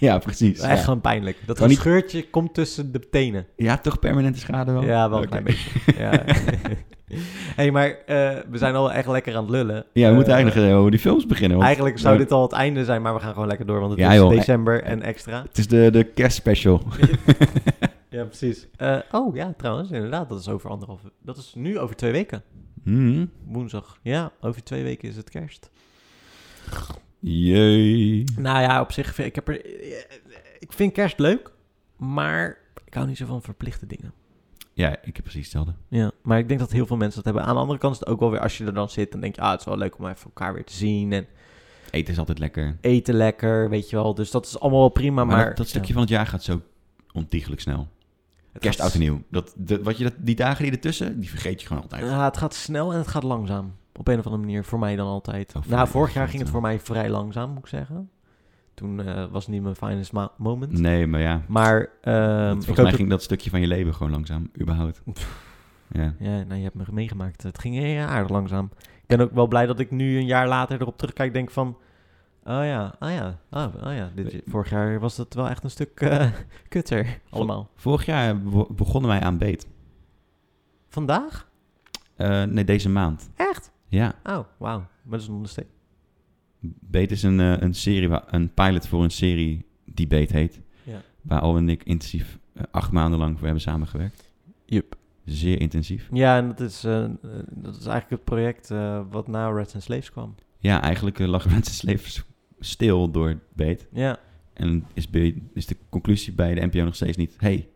S2: ja precies.
S1: Echt
S2: ja.
S1: gewoon pijnlijk. Dat
S2: Kan niet-
S1: scheurtje komt tussen de tenen.
S2: ja, toch permanente schade wel?
S1: Ja, wel een
S2: Oké.
S1: klein beetje. Ja. hey, maar eh, we zijn al echt lekker aan het lullen.
S2: Ja, we
S1: Eh,
S2: moeten eigenlijk eh, over die films beginnen. Want
S1: Eigenlijk zou
S2: nou,
S1: dit al het einde zijn, maar we gaan gewoon lekker door, want het
S2: Ja,
S1: is
S2: joh.
S1: december en extra.
S2: Het is de, de kerstspecial.
S1: Ja, precies. Eh, oh ja, trouwens, inderdaad, dat is over anderhalve... Dat is nu over twee weken.
S2: Mhm.
S1: Woensdag. Ja, over twee weken is het kerst.
S2: Jee.
S1: Nou ja, op zich, vind- ik, heb er, eh, ik vind kerst leuk, maar ik hou niet zo van verplichte dingen.
S2: Ja, ik heb precies hetzelfde.
S1: Ja, maar ik denk dat heel veel mensen dat hebben. Aan de andere kant is het ook wel weer, als je er dan zit, dan denk je, ah, het is wel leuk om even elkaar weer te zien en
S2: Eten is altijd lekker.
S1: eten lekker, weet je wel. Dus dat is allemaal wel prima,
S2: Maar,
S1: maar...
S2: dat, dat stukje
S1: ja,
S2: van het jaar gaat zo ontiegelijk snel.
S1: het
S2: Kerst,
S1: gaat-
S2: oud en nieuw. Dat, de, wat je dat, die dagen die ertussen, die vergeet je gewoon altijd.
S1: Ja, het gaat snel en het gaat langzaam. Op een of andere manier, voor mij dan altijd.
S2: Oh, voor
S1: nou,
S2: mij
S1: vorig
S2: is
S1: jaar
S2: het,
S1: ging het
S2: eh,
S1: voor mij vrij langzaam, moet ik zeggen. Toen eh, was het niet mijn finest ma- moment.
S2: Nee, maar ja.
S1: Maar
S2: dat-
S1: ehm ik
S2: volgens
S1: hoop
S2: mij
S1: dat-
S2: ging dat stukje van je leven gewoon langzaam, überhaupt. Ja.
S1: Ja, nou, je hebt me meegemaakt. Het ging eh, aardig langzaam. Ik ben ook wel blij dat ik nu een jaar later erop terugkijk en denk van... Oh ja, oh ja, oh, oh ja. Dit,
S2: We-
S1: vorig jaar was dat wel echt een stuk eh, kutter allemaal.
S2: Vorig jaar be- begonnen wij aan beet.
S1: Vandaag?
S2: Eh, nee, deze maand.
S1: Echt?
S2: Ja.
S1: Oh, wauw. Maar dat is nog steeds.
S2: Beet is een, eh, een, serie waar, een pilot voor een serie die Beet heet.
S1: Ja.
S2: Waar Al en ik intensief eh, acht maanden lang voor hebben samengewerkt.
S1: Jup.
S2: Zeer intensief.
S1: Ja, en dat is, eh, eh, dat is eigenlijk het project eh, wat na Reds and Slaves kwam.
S2: Ja, eigenlijk eh, lagen mensen leven stil door Beet.
S1: Ja,
S2: En is, bij- is de conclusie bij de NPO nog steeds niet... hey,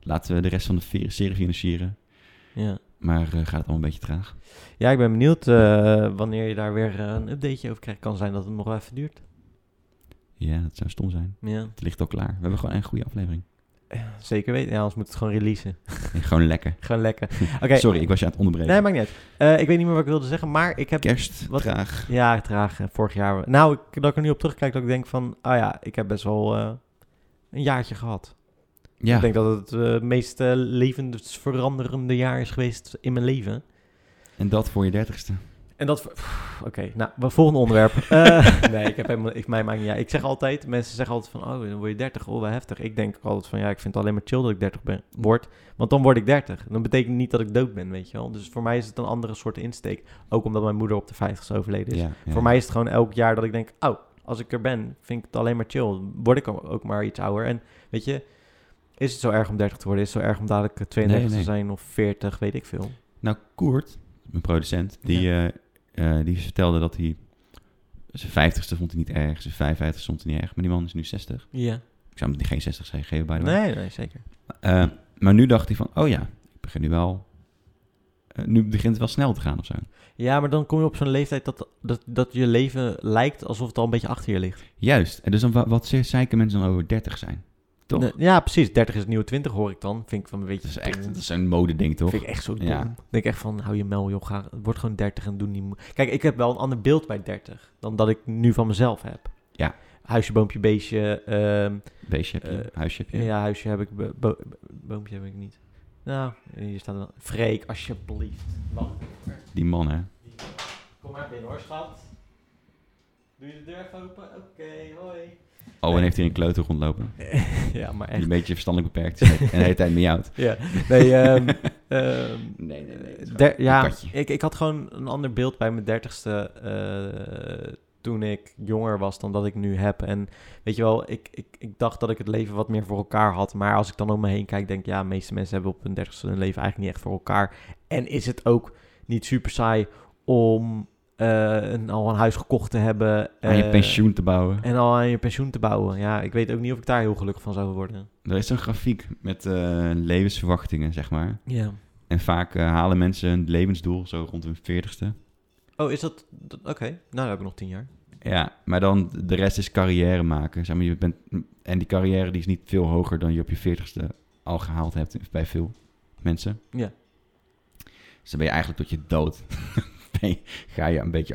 S2: laten we de rest van de ve- serie financieren.
S1: ja.
S2: Maar eh, gaat het allemaal een beetje traag.
S1: Ja, ik ben benieuwd eh, wanneer je daar weer eh, een updateje over krijgt. Kan zijn dat het nog wel even duurt.
S2: Ja, dat zou stom zijn.
S1: Ja,
S2: Het ligt al klaar. We hebben gewoon een goede aflevering.
S1: Eh, zeker weten. Ja, anders moet het gewoon releasen.
S2: En gewoon lekker.
S1: Gewoon lekker. Oké.
S2: Sorry, ik was je aan het onderbreken.
S1: Nee, maakt niet uit. Eh, ik weet niet meer wat ik wilde zeggen, maar ik heb...
S2: Kerst,
S1: Wat-
S2: traag.
S1: Ja, traag. eh, Vorig jaar... Nou, ik, dat ik er nu op terugkijk, dat ik denk van... Ah ja, ik heb best wel eh, een jaartje gehad.
S2: Ja,
S1: Ik denk dat het eh, het meest eh, levensveranderende jaar is geweest in mijn leven.
S2: en dat voor je dertigste.
S1: En dat... pff, Oké, nou, we- volgende onderwerp. Eh, nee, ik heb helemaal... Ik, mij maakt niet uit. Ik zeg altijd... Mensen zeggen altijd van... Oh, dan word je 30. Oh, wel heftig. Ik denk altijd van... Ja, ik vind het alleen maar chill dat ik 30 ben, word. Want dan word ik 30. Dan betekent niet dat ik dood ben, weet je wel. Dus voor mij is het een andere soort insteek. Ook omdat mijn moeder op de 50 is overleden. Is.
S2: ja, ja.
S1: Voor mij is het gewoon elk jaar dat ik denk... Oh, als ik er ben, vind ik het alleen maar chill. Word ik ook maar iets ouder. En weet je... Is het zo erg om 30 te worden? Is het zo erg om dadelijk eh, 32
S2: Nee, nee.
S1: te zijn of 40? Weet ik veel.
S2: Nou, Koert, mijn producent, die, eh, eh, die vertelde dat hij... Zijn vijftigste vond hij niet erg, zijn 55 vond hij niet erg. Maar die man is nu 60.
S1: Ja.
S2: Ik zou hem geen 60 zijn geven, by the way.
S1: Nee, nee, zeker.
S2: Eh, maar nu dacht hij van, oh ja, ik begin nu wel... eh, nu begint het wel snel te gaan of zo.
S1: Ja, maar dan kom je op zo'n leeftijd dat, dat, dat je leven lijkt alsof het al een beetje achter je ligt.
S2: Juist. En dus dan, wa- wat ze- zeiken mensen dan over 30 zijn? Toch?
S1: Nee, ja, precies. 30 is het nieuwe 20, hoor ik dan. Vind ik van, weet je...
S2: Dat is echt dat is een modeding, toch?
S1: Vind ik echt zo dom.
S2: Ja.
S1: Denk ik echt van, hou je mel, joh. Ga, word gewoon 30 en doe niet... mo- Kijk, ik heb wel een ander beeld bij 30 dan dat ik nu van mezelf heb.
S2: Ja.
S1: Huisje, boompje, beestje. ehm,
S2: Beestje heb je,
S1: Eh,
S2: huisje heb je.
S1: ja. huisje heb ik, bo- bo- boompje heb ik niet. Nou, hier staat wel... Freek, alsjeblieft. Man,
S2: Die man, hè? Oh,
S1: kom maar binnen hoor, schat. Doe je de deur even open? Oké, hoi.
S2: Oh, en
S1: Nee.
S2: heeft hij een kleuter rondlopen.
S1: ja, maar
S2: Die
S1: echt.
S2: een beetje verstandelijk beperkt is en de hele tijd miauwt.
S1: Ja, nee, ehm, ehm,
S2: Nee, nee, nee. dat is
S1: Der-
S2: gewoon een
S1: ja,
S2: katje.
S1: ik, ik had gewoon een ander beeld bij mijn dertigste eh, toen ik jonger was dan dat ik nu heb. En weet je wel, ik, ik, ik dacht dat ik het leven wat meer voor elkaar had. Maar als ik dan om me heen kijk, denk ik, ja, de meeste mensen hebben op hun dertigste hun leven eigenlijk niet echt voor elkaar. En is het ook niet super saai om eh, een, al een huis gekocht te hebben.
S2: Aan je
S1: eh,
S2: pensioen te bouwen.
S1: En al aan je pensioen te bouwen. Ja, ik weet ook niet of ik daar heel gelukkig van zou worden.
S2: Er is zo'n grafiek met eh, levensverwachtingen, zeg maar.
S1: Ja.
S2: En vaak eh, halen mensen hun levensdoel zo rond hun veertigste.
S1: Oh, is dat... dat- Oké, nou dan heb ik nog tien jaar.
S2: Ja, maar dan de rest is carrière maken. Zeg maar, je bent, en die carrière die is niet veel hoger dan je op je veertigste al gehaald hebt bij veel mensen.
S1: Ja.
S2: Dus dan ben je eigenlijk tot je dood. ben je- ga je een beetje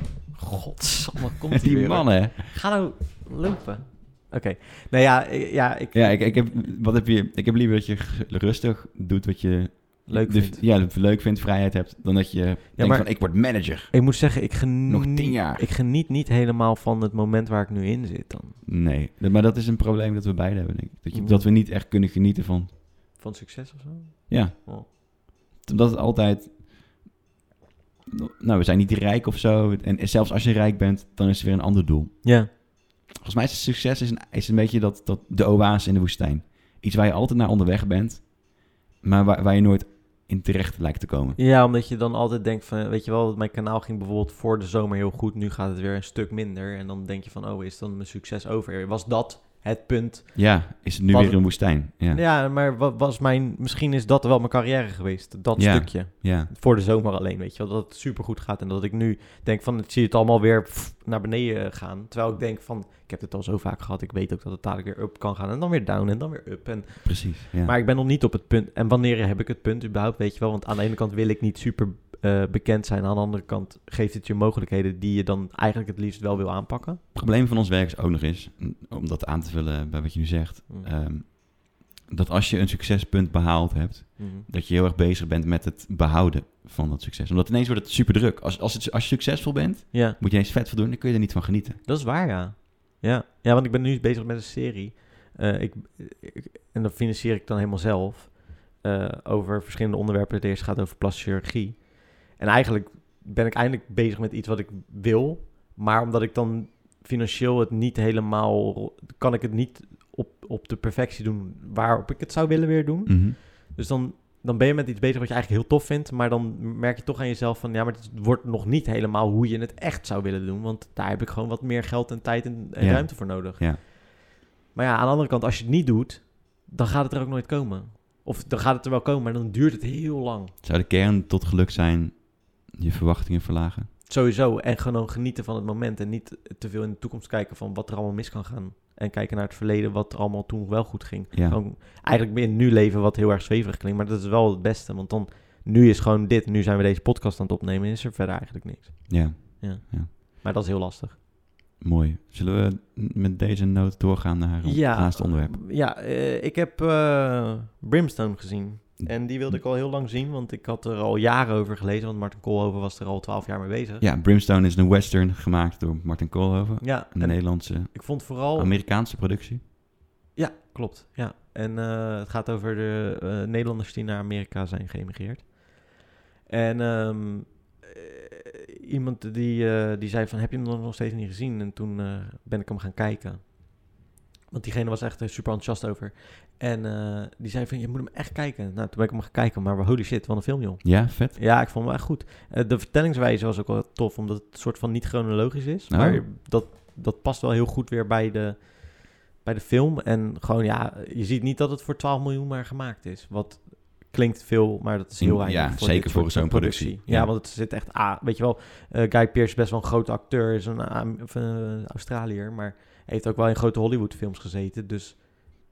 S1: Godsamme, komt die
S2: die
S1: weer, hoor.
S2: man, hè?
S1: Ga nou lopen. Oké. Nou ja, ik- ja, ik,
S2: Ja, ik, ik, heb, wat heb je, ik heb liever dat je g- rustig doet wat je
S1: leuk
S2: de-
S1: vind.
S2: Ja, dat je leuk vindt, vrijheid hebt. Dan dat je denkt
S1: maar-
S2: van, ik word manager.
S1: Ik moet zeggen, ik geniet,
S2: Nog tien jaar.
S1: ik geniet niet helemaal van het moment waar ik nu in zit dan.
S2: Nee, dat- maar dat is een probleem dat we beide hebben, denk ik. Dat, je,
S1: Ja.
S2: dat we niet echt kunnen genieten van...
S1: Van succes of zo?
S2: Ja.
S1: Oh.
S2: Omdat het altijd... Nou, we zijn niet rijk of zo. En zelfs als je rijk bent, dan is er weer een ander doel.
S1: Ja.
S2: Volgens mij is succes is een, is een beetje dat, dat de oase in de woestijn. Iets waar je altijd naar onderweg bent, maar waar, waar je nooit in terecht lijkt te komen.
S1: ja, omdat je dan altijd denkt van, weet je wel, mijn kanaal ging bijvoorbeeld voor de zomer heel goed. Nu gaat het weer een stuk minder. En dan denk je van, oh, is dan mijn succes over? Was dat het punt?
S2: Ja, is het nu
S1: Wat-
S2: weer een woestijn. Ja,
S1: Ja, maar wa- was mijn, misschien is dat wel mijn carrière geweest. Dat
S2: Ja.
S1: stukje.
S2: ja.
S1: voor de zomer alleen, weet je wel. Dat het supergoed gaat en dat ik nu denk van, ik zie het allemaal weer pff, naar beneden gaan. Terwijl ik denk van, ik heb dit al zo vaak gehad. Ik weet ook dat het dadelijk weer up kan gaan en dan weer down en dan weer up. En,
S2: precies. Ja.
S1: Maar ik ben nog niet op het punt. En wanneer heb ik het punt überhaupt, weet je wel. Want aan de ene kant wil ik niet super eh, bekend zijn. Aan de andere kant geeft het je mogelijkheden die je dan eigenlijk het liefst wel wil aanpakken.
S2: Het probleem van ons werk is ook nog eens, om dat aan te vullen bij wat je nu zegt,
S1: Mm.
S2: ehm, dat als je een succespunt behaald hebt,
S1: Mhm.
S2: dat je heel erg bezig bent met het behouden van dat succes. Omdat ineens wordt het super druk. Als, als, het, als je succesvol bent,
S1: Ja,
S2: moet je ineens vet voor doen, dan kun je er niet van genieten.
S1: dat is waar, ja. Ja, ja want ik ben nu bezig met een serie. Eh, ik, ik- en dat financier ik dan helemaal zelf. eh, over verschillende onderwerpen. Het eerste gaat over plastische chirurgie. En eigenlijk ben ik eindelijk bezig met iets wat ik wil. Maar omdat ik dan financieel het niet helemaal... kan ik het niet op, op de perfectie doen waarop ik het zou willen weer doen. Dus dan, dan ben je met iets bezig wat je eigenlijk heel tof vindt. Maar dan merk je toch aan jezelf van... ja, maar het wordt nog niet helemaal hoe je het echt zou willen doen. Want daar heb ik gewoon wat meer geld en tijd en, en
S2: Ja.
S1: ruimte voor nodig.
S2: Ja.
S1: Maar ja, aan de andere kant, als je het niet doet... dan gaat het er ook nooit komen. Of dan gaat het er wel komen, maar dan duurt het heel lang.
S2: Zou de kern tot geluk zijn, je verwachtingen verlagen?
S1: Sowieso. En gewoon genieten van het moment. En niet te veel in de toekomst kijken van wat er allemaal mis kan gaan. En kijken naar het verleden, wat er allemaal toen wel goed ging.
S2: Ja,
S1: Gewoon eigenlijk meer nu leven wat heel erg zweverig klinkt. Maar dat is wel het beste. Want dan, nu is gewoon dit. Nu zijn we deze podcast aan het opnemen. En is er verder eigenlijk niks.
S2: ja
S1: Maar dat is heel lastig.
S2: mooi. Zullen we met deze noot doorgaan naar ons laatste onderwerp?
S1: Ja, eh, ik heb eh, Brimstone gezien.
S2: Hm.
S1: En die wilde ik al heel lang zien. Want ik had er al jaren over gelezen. Want Martin Koolhoven was er al twaalf jaar mee bezig.
S2: Ja, Brimstone is een western gemaakt door Martin Koolhoven.
S1: Ja,
S2: Een
S1: en Oh.
S2: Nederlandse,
S1: ik vond vooral...
S2: Amerikaanse productie.
S1: Ja, klopt. Ja. En eh, het gaat over de eh, Nederlanders die naar Amerika zijn geëmigreerd. En ehm, eh, iemand die, eh, die zei van, heb je hem nog steeds niet gezien? En toen eh, ben ik hem gaan kijken. Want diegene was echt eh, super enthousiast over. En eh, die zei van, je moet hem echt kijken. Nou, toen ben ik hem gaan kijken, maar holy shit, wat een film joh.
S2: Ja, vet.
S1: Ja, ik vond hem echt goed. Eh, de vertellingswijze was ook wel tof, omdat het soort van niet chronologisch is.
S2: Oh.
S1: Maar dat, dat past wel heel goed weer bij de, bij de film. En gewoon, ja, je ziet niet dat het voor 12 miljoen maar gemaakt is. Wat klinkt veel, maar dat is heel
S2: Mm, Ja,
S1: weinig.
S2: zeker
S1: dit
S2: voor
S1: soort
S2: zo'n productie.
S1: Ja,
S2: Ja.
S1: want het zit echt aan. Weet je wel, eh, Guy Pearce is best wel een grote acteur, is een Am- of, eh, Australiër, maar heeft ook wel in grote Hollywood films gezeten. Dus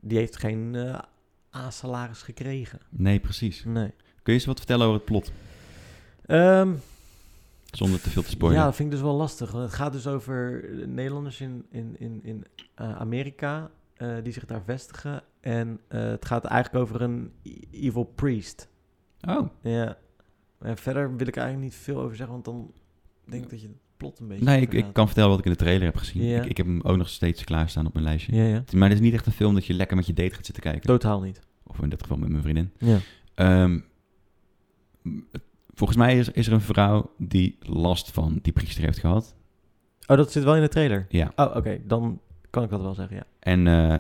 S1: die heeft geen eh A-salaris gekregen.
S2: Nee, precies.
S1: Nee.
S2: Kun je eens wat vertellen over het plot?
S1: Ehm,
S2: Zonder te veel te spoilen.
S1: Ja, dat vind ik dus wel lastig. Want het gaat dus over eh, Nederlanders in, in, in, in eh, Amerika eh, die zich daar vestigen. En eh, het gaat eigenlijk over een e- evil priest.
S2: Oh,
S1: Ja. En verder wil ik eigenlijk niet veel over zeggen, want dan denk ik dat je het plot een beetje.
S2: nee, ik, ik
S1: verraadt.
S2: kan vertellen wat ik in de trailer heb gezien.
S1: Ja.
S2: Ik, ik heb hem ook nog steeds klaarstaan op mijn lijstje.
S1: Ja, ja.
S2: Maar het is niet echt een film dat je lekker met je date gaat zitten kijken.
S1: Totaal niet.
S2: Of in dit geval met mijn vriendin.
S1: Ja.
S2: Ehm, m- het- volgens mij is, is er een vrouw die last van die priester heeft gehad.
S1: Oh, dat zit wel in de trailer.
S2: Ja.
S1: Oh, oké. Dan kan ik dat wel zeggen, ja.
S2: En, eh,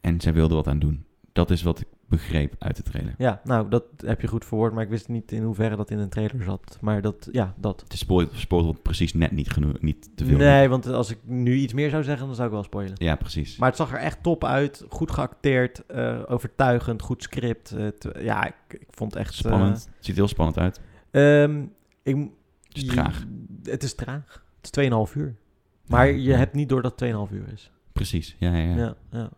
S2: en zij wilde wat aan doen. Dat is wat ik begreep uit de trailer.
S1: Ja, nou, dat heb je goed verwoord, maar ik wist niet in hoeverre dat in een trailer zat. Maar dat, ja, dat.
S2: Het spoort spoort precies net niet genoeg, niet te veel.
S1: Nee, want als ik nu iets meer zou zeggen, dan zou ik wel spoilen.
S2: Ja, precies.
S1: Maar het zag er echt top uit. Goed geacteerd, eh, overtuigend, goed script. Het- ja, ik, ik vond het echt... eh,
S2: Spannend. Het ziet heel spannend uit.
S1: ehm, ik, m-
S2: Het is traag.
S1: Het is traag. Het is 2,5 uur. Maar
S2: Ja.
S1: je hebt niet door dat het 2,5 uur is.
S2: Precies, ja, ja, ja.
S1: Ja. Ja,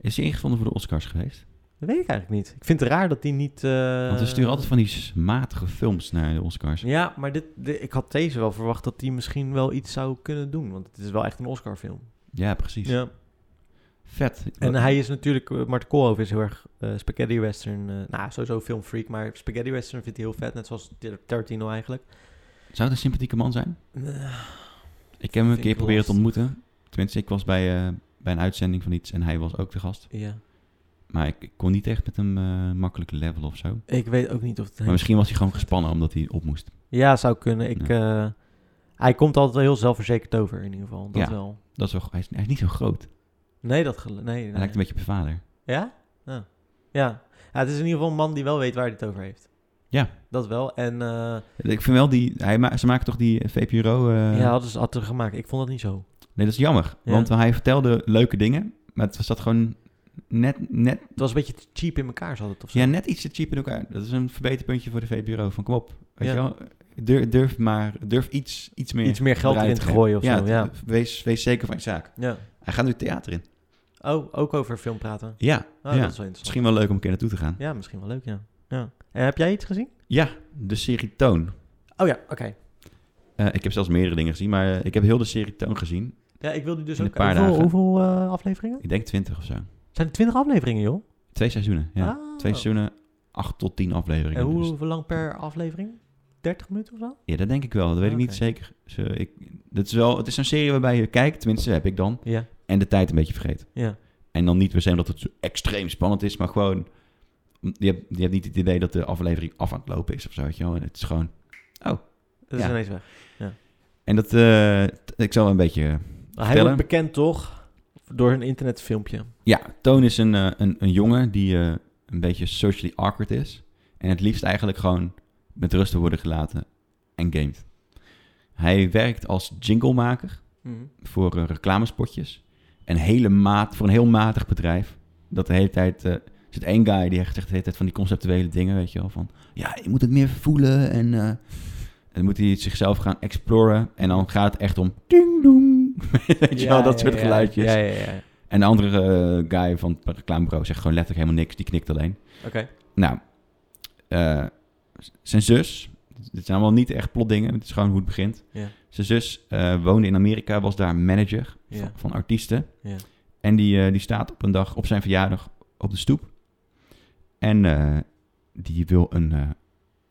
S2: Is hij ingevonden voor de Oscars geweest?
S1: Dat weet ik eigenlijk niet. Ik vind het raar dat die niet... eh,
S2: Want we sturen altijd van die smatige films naar de Oscars.
S1: Ja, maar dit, de- ik had deze wel verwacht dat die misschien wel iets zou kunnen doen. Want het is wel echt een Oscar-film.
S2: Ja, precies.
S1: Ja.
S2: Vet.
S1: En hij is natuurlijk, eh, Martin Koolhoven is heel erg eh, spaghetti western. eh, nou, sowieso filmfreak, maar spaghetti western vindt hij heel vet. Net zoals Tar- Tarantino eigenlijk.
S2: Zou het een sympathieke man zijn?
S1: Eh,
S2: Ik heb hem
S1: Vind
S2: een keer
S1: ik
S2: proberen te
S1: lastig.
S2: ontmoeten. Tenminste, ik was bij, eh, bij een uitzending van iets en hij was ook de gast.
S1: ja.
S2: Maar ik, ik kon niet echt met hem eh makkelijk level of zo.
S1: Ik weet ook niet of het...
S2: Maar misschien was hij gewoon gespannen omdat hij op moest.
S1: Ja, zou kunnen. Ik, eh, hij komt altijd wel heel zelfverzekerd over in ieder geval. Dat
S2: Ja.
S1: wel.
S2: Dat is wel, hij, is, hij is niet zo groot. Hij
S1: Nee, dat... gel- Nee, nee.
S2: lijkt een beetje op je vader.
S1: Ja? Ja. ja? Ja, Het is in ieder geval een man die wel weet waar hij het over heeft.
S2: Ja.
S1: Dat wel. En eh,
S2: Ik vind wel die... Hij ma- ze maken toch die VPRO... eh,
S1: ja, hadden ze hadden ze gemaakt. Ik vond dat niet zo.
S2: Nee, dat is jammer.
S1: Ja.
S2: Want hij vertelde leuke dingen. Maar het zat gewoon net, net,
S1: Het was een beetje te cheap in elkaar zat het of zo.
S2: ja, net iets te cheap in elkaar. Dat is een verbeterpuntje voor de VPRO. Van kom op. Weet
S1: Ja.
S2: je wel? Durf, durf maar... Durf iets, iets meer...
S1: Iets meer geld
S2: eruit
S1: erin te gooien of
S2: ja,
S1: zo.
S2: het-
S1: Ja.
S2: Wees, wees zeker van je zaak.
S1: ja.
S2: Hij gaat nu theater in.
S1: Oh, ook over film praten.
S2: Ja,
S1: Oh, dat is
S2: ja.
S1: wel interessant.
S2: misschien wel leuk om een keer naartoe te gaan.
S1: Ja, misschien wel leuk, ja. ja. En heb jij iets gezien?
S2: Ja, de serie Toon.
S1: Oh ja, oké.
S2: Eh, ik heb zelfs meerdere dingen gezien, maar eh, ik heb heel de serie Toon gezien.
S1: Ja, ik wil die dus
S2: In
S1: ook...
S2: een paar
S1: hoeveel
S2: dagen.
S1: hoeveel eh, afleveringen?
S2: Ik denk twintig of zo.
S1: Zijn er twintig afleveringen, joh?
S2: Twee seizoenen, ja.
S1: Ah.
S2: Twee seizoenen, acht tot tien afleveringen.
S1: En hoe,
S2: Dus-
S1: hoeveel lang per aflevering? 30 minuten of zo?
S2: ja, dat denk ik wel. Dat weet ik
S1: Oké.
S2: niet zeker. Dus, eh, ik, dat is wel, het is een serie waarbij je kijkt, tenminste heb ik dan,
S1: Ja,
S2: en de tijd een beetje vergeet.
S1: ja.
S2: En dan niet per se omdat het zo extreem spannend is, maar gewoon... Je hebt, je hebt niet het idee dat de aflevering af aan het lopen is of zo, weet je wel. En het is gewoon...
S1: Dat is
S2: Ja.
S1: ineens weg.
S2: En dat... eh, t- ik zal een beetje...
S1: Hij
S2: Vertellen.
S1: wordt bekend, toch? Door een internetfilmpje.
S2: Ja, Toon is een, eh, een, een jongen die eh, een beetje socially awkward is. En het liefst eigenlijk gewoon met rust wil worden gelaten en gamet. Hij werkt als jinglemaker
S1: Mhm.
S2: voor eh, reclamespotjes. Een hele maat, voor een heel matig bedrijf. Dat de hele tijd... eh, er zit één guy die echt zegt de hele tijd van die conceptuele dingen, weet je wel. Van, ja, je moet het meer voelen en... eh, dan moet hij zichzelf gaan exploren. En dan gaat het echt om... Ding dong. Weet je wel, dat soort geluidjes.
S1: Ja, ja, ja.
S2: En de andere eh, guy van het reclamebureau zegt gewoon letterlijk helemaal niks. Die knikt alleen.
S1: Oké.
S2: Nou, eh, zijn zus... Dit zijn allemaal niet echt plotdingen. Het is gewoon hoe het begint.
S1: Ja.
S2: Zijn zus eh, woonde in Amerika, was daar manager
S1: Ja.
S2: van, van artiesten.
S1: Ja.
S2: En die, eh, die staat op een dag op zijn verjaardag op de stoep. En eh, die, wil een, eh,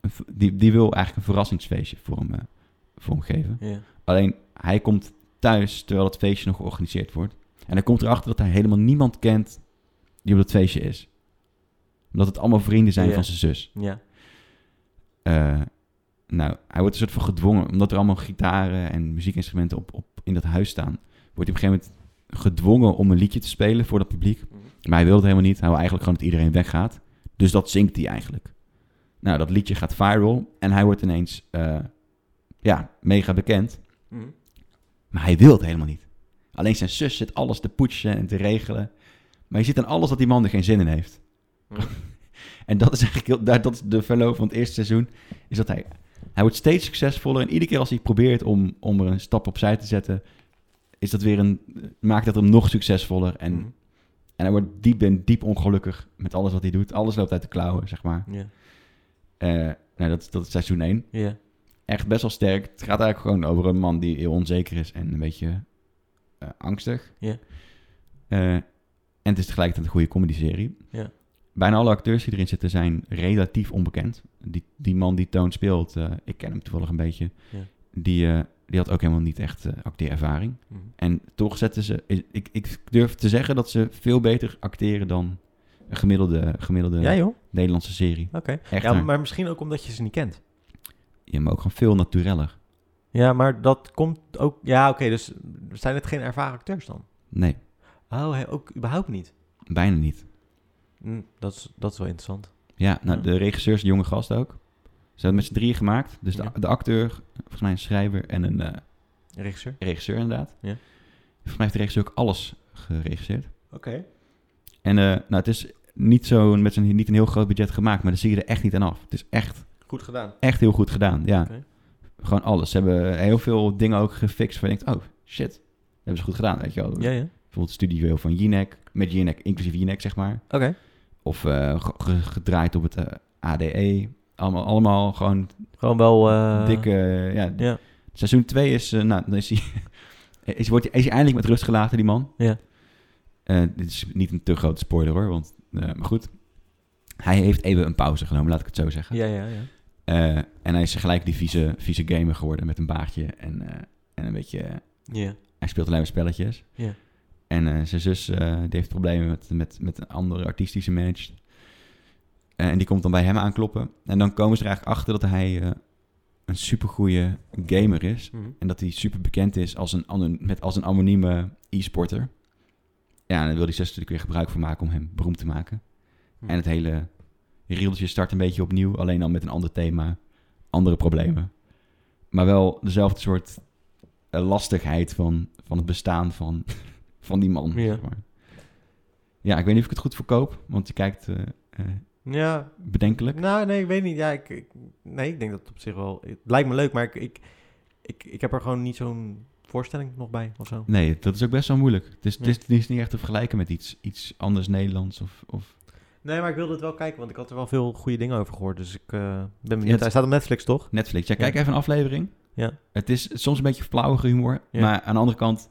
S2: een v- die, die wil eigenlijk een verrassingsfeestje voor hem, eh, voor hem geven.
S1: Ja.
S2: Alleen hij komt thuis terwijl het feestje nog georganiseerd wordt. En hij komt erachter dat hij helemaal niemand kent die op dat feestje is. Omdat het allemaal vrienden zijn
S1: Ja.
S2: van zijn zus.
S1: ja.
S2: Eh, nou, hij wordt een soort van gedwongen, omdat er allemaal gitaren en muziekinstrumenten op, op, in dat huis staan. Wordt hij op een gegeven moment gedwongen om een liedje te spelen voor dat publiek. Maar hij wil het helemaal niet. Hij wil eigenlijk gewoon dat iedereen weggaat. Dus dat zingt hij eigenlijk. Nou, dat liedje gaat viral en hij wordt ineens eh, ja, mega bekend. Maar hij wil het helemaal niet. Alleen zijn zus zit alles te poetsen en te regelen. Maar je ziet aan alles dat die man er geen zin in heeft.
S1: Ja.
S2: en dat is eigenlijk heel, daar- dat is de verloop van het eerste seizoen. Is dat hij, hij wordt steeds succesvoller. En iedere keer als hij probeert om, om er een stap opzij te zetten... Is dat weer een, maakt dat hem nog succesvoller. En,
S1: Mhm.
S2: hij wordt diep en diep ongelukkig met alles wat hij doet. Alles loopt uit de klauwen, zeg maar.
S1: Ja.
S2: Eh, nou, dat, is- dat is seizoen 1.
S1: Ja.
S2: Echt best wel sterk. Het gaat eigenlijk gewoon over een man die heel onzeker is en een beetje eh, angstig.
S1: Ja.
S2: Eh, en het is tegelijkertijd een goede comedy-serie.
S1: Ja.
S2: Bijna alle acteurs die erin zitten zijn relatief onbekend. Die, die man die Toon speelt, eh, ik ken hem toevallig een beetje,
S1: Ja.
S2: die, eh, die had ook helemaal niet echt eh, acteerervaring.
S1: Mhm.
S2: En toch zetten ze. Ik, ik durf te zeggen dat ze veel beter acteren dan een gemiddelde, gemiddelde
S1: Ja, joh.
S2: Nederlandse serie.
S1: Oké.
S2: Echt.
S1: Ja,
S2: Ja,
S1: maar misschien ook omdat je ze niet kent.
S2: ja, maar ook gewoon veel natureller.
S1: Ja, maar dat komt ook... Ja, oké, dus zijn het geen ervaren acteurs dan?
S2: Nee,
S1: Oh, hè, ook überhaupt niet.
S2: bijna niet.
S1: Hm, dat, is, dat is wel interessant.
S2: Ja, nou,
S1: Ja.
S2: de regisseur is een jonge gast ook. Ze hebben met z'n drieën gemaakt. Dus de,
S1: Ja.
S2: de acteur, volgens mij een schrijver en een eh,
S1: Regisseur?
S2: regisseur inderdaad.
S1: Ja.
S2: Volgens mij heeft de regisseur ook alles geregisseerd.
S1: Oké.
S2: En eh, nou, het is niet, zo, met zo'n niet een heel groot budget gemaakt, maar daar zie je er echt niet aan af. Het is echt
S1: Goed gedaan.
S2: echt heel goed gedaan. Ja.
S1: Oké.
S2: Gewoon alles. Ze hebben eh, heel veel dingen ook gefixt waar je denkt, oh shit, dat hebben ze goed gedaan. Weet je wel.
S1: Ja, ja.
S2: Bijvoorbeeld het studio van Jinek, met Jinek, inclusief Jinek zeg maar.
S1: Oké.
S2: Of eh, ge- ge- gedraaid op het eh, ADE. Allemaal, allemaal gewoon
S1: Gewoon wel... eh,
S2: dikke... ja.
S1: ja.
S2: Seizoen 2 is, eh, nou, dan is hij... Is, wordt, hij- is hij eindelijk met rust gelaten, die man.
S1: Ja.
S2: Eh, dit is niet een te grote spoiler hoor, want... eh, maar goed. Hij heeft even een pauze genomen, laat ik het zo zeggen.
S1: Ja, ja, ja.
S2: Eh, en hij is gelijk die vieze, vieze gamer geworden met een baardje en, eh, en een beetje...
S1: Ja.
S2: hij speelt alleen maar spelletjes.
S1: Ja.
S2: En eh, zijn zus eh, die heeft problemen met, met, met een andere artiest die ze managt. Eh, en die komt dan bij hem aankloppen. En dan komen ze er eigenlijk achter dat hij eh, een supergoeie gamer is.
S1: Mhm.
S2: En dat hij super bekend is als een, anon- met, als een anonieme e-sporter. Ja, en daar wil die zus natuurlijk weer gebruik van maken om hem beroemd te maken.
S1: Hm.
S2: En het hele rieltje start een beetje opnieuw, alleen dan met een ander thema, andere problemen. Maar wel dezelfde soort eh, lastigheid van, van het bestaan van, van die man.
S1: Ja.
S2: zeg maar. ja, ik weet niet of ik het goed verkoop, want je kijkt eh, eh,
S1: Ja,
S2: bedenkelijk.
S1: Nou, nee, ik weet niet. Ja, ik, ik- nee, ik denk dat het op zich wel... Het lijkt me leuk, maar ik, ik, ik, ik heb er gewoon niet zo'n voorstelling nog bij of zo.
S2: Nee, dat is ook best wel moeilijk. Het is, het
S1: Ja.
S2: is, het is niet echt te vergelijken met iets, iets anders Nederlands of, of
S1: Nee, maar ik wilde het wel kijken, want ik had er wel veel goede dingen over gehoord. Dus ik eh, ben
S2: Ja,
S1: benieuwd.
S2: het-
S1: Hij staat op Netflix, toch?
S2: Netflix. Ja, kijk
S1: Ja.
S2: even een aflevering.
S1: Ja.
S2: Het is soms een beetje flauwige humor.
S1: Ja.
S2: Maar aan de andere kant,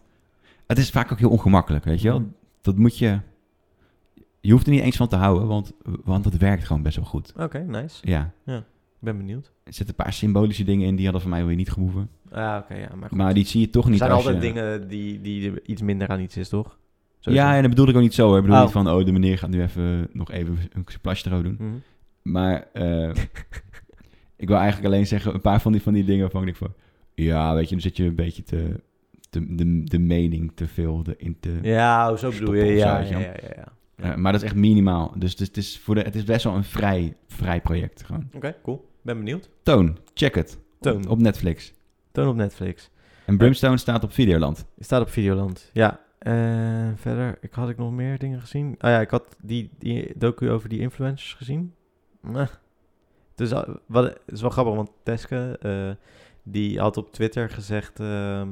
S2: het is vaak ook heel ongemakkelijk, weet je wel.
S1: Mhm.
S2: Dat moet je... Je hoeft er niet eens van te houden, want, want het werkt gewoon best wel goed.
S1: Oké, nice.
S2: Ja.
S1: Ik ben benieuwd.
S2: Er zitten een paar symbolische dingen in, die hadden voor mij weer niet gehoeven.
S1: Ah, oké, ja. Maar, goed.
S2: Maar die zie je toch
S1: er
S2: niet
S1: zijn
S2: als
S1: altijd
S2: je-
S1: dingen die, die iets minder aan iets is, toch? Sowieso.
S2: Ja, en dat bedoel ik ook niet zo. Hè. Ik bedoel
S1: Oh.
S2: niet van, oh, de meneer gaat nu even nog even een splasje erover doen.
S1: Mhm.
S2: Maar eh, ik wil eigenlijk alleen zeggen, een paar van die, van die dingen waarvan ik denk van... Ja, weet je, dan zit je een beetje te, te- de, de mening te veel de, in te...
S1: Ja, oh, zo bedoel je.
S2: Stoppen
S1: Ja,
S2: of
S1: ja,
S2: zo, weet
S1: ja, ja, ja.
S2: Eh, maar dat is echt minimaal. Dus het is, het is, voor de, het is best wel een vrij, vrij project gewoon.
S1: Oké, cool. Ben benieuwd.
S2: Toon, check het.
S1: Toon.
S2: Op, op Netflix.
S1: Toon op Netflix.
S2: En Brimstone staat op Videoland.
S1: Het staat op Videoland, ja. Eh, verder, ik, had ik nog meer dingen gezien? Ah ja, ik had die, die docu over die influencers gezien. Nah. Dus ah, wat, het is wel grappig, want Teske, eh, die had op Twitter gezegd ehm,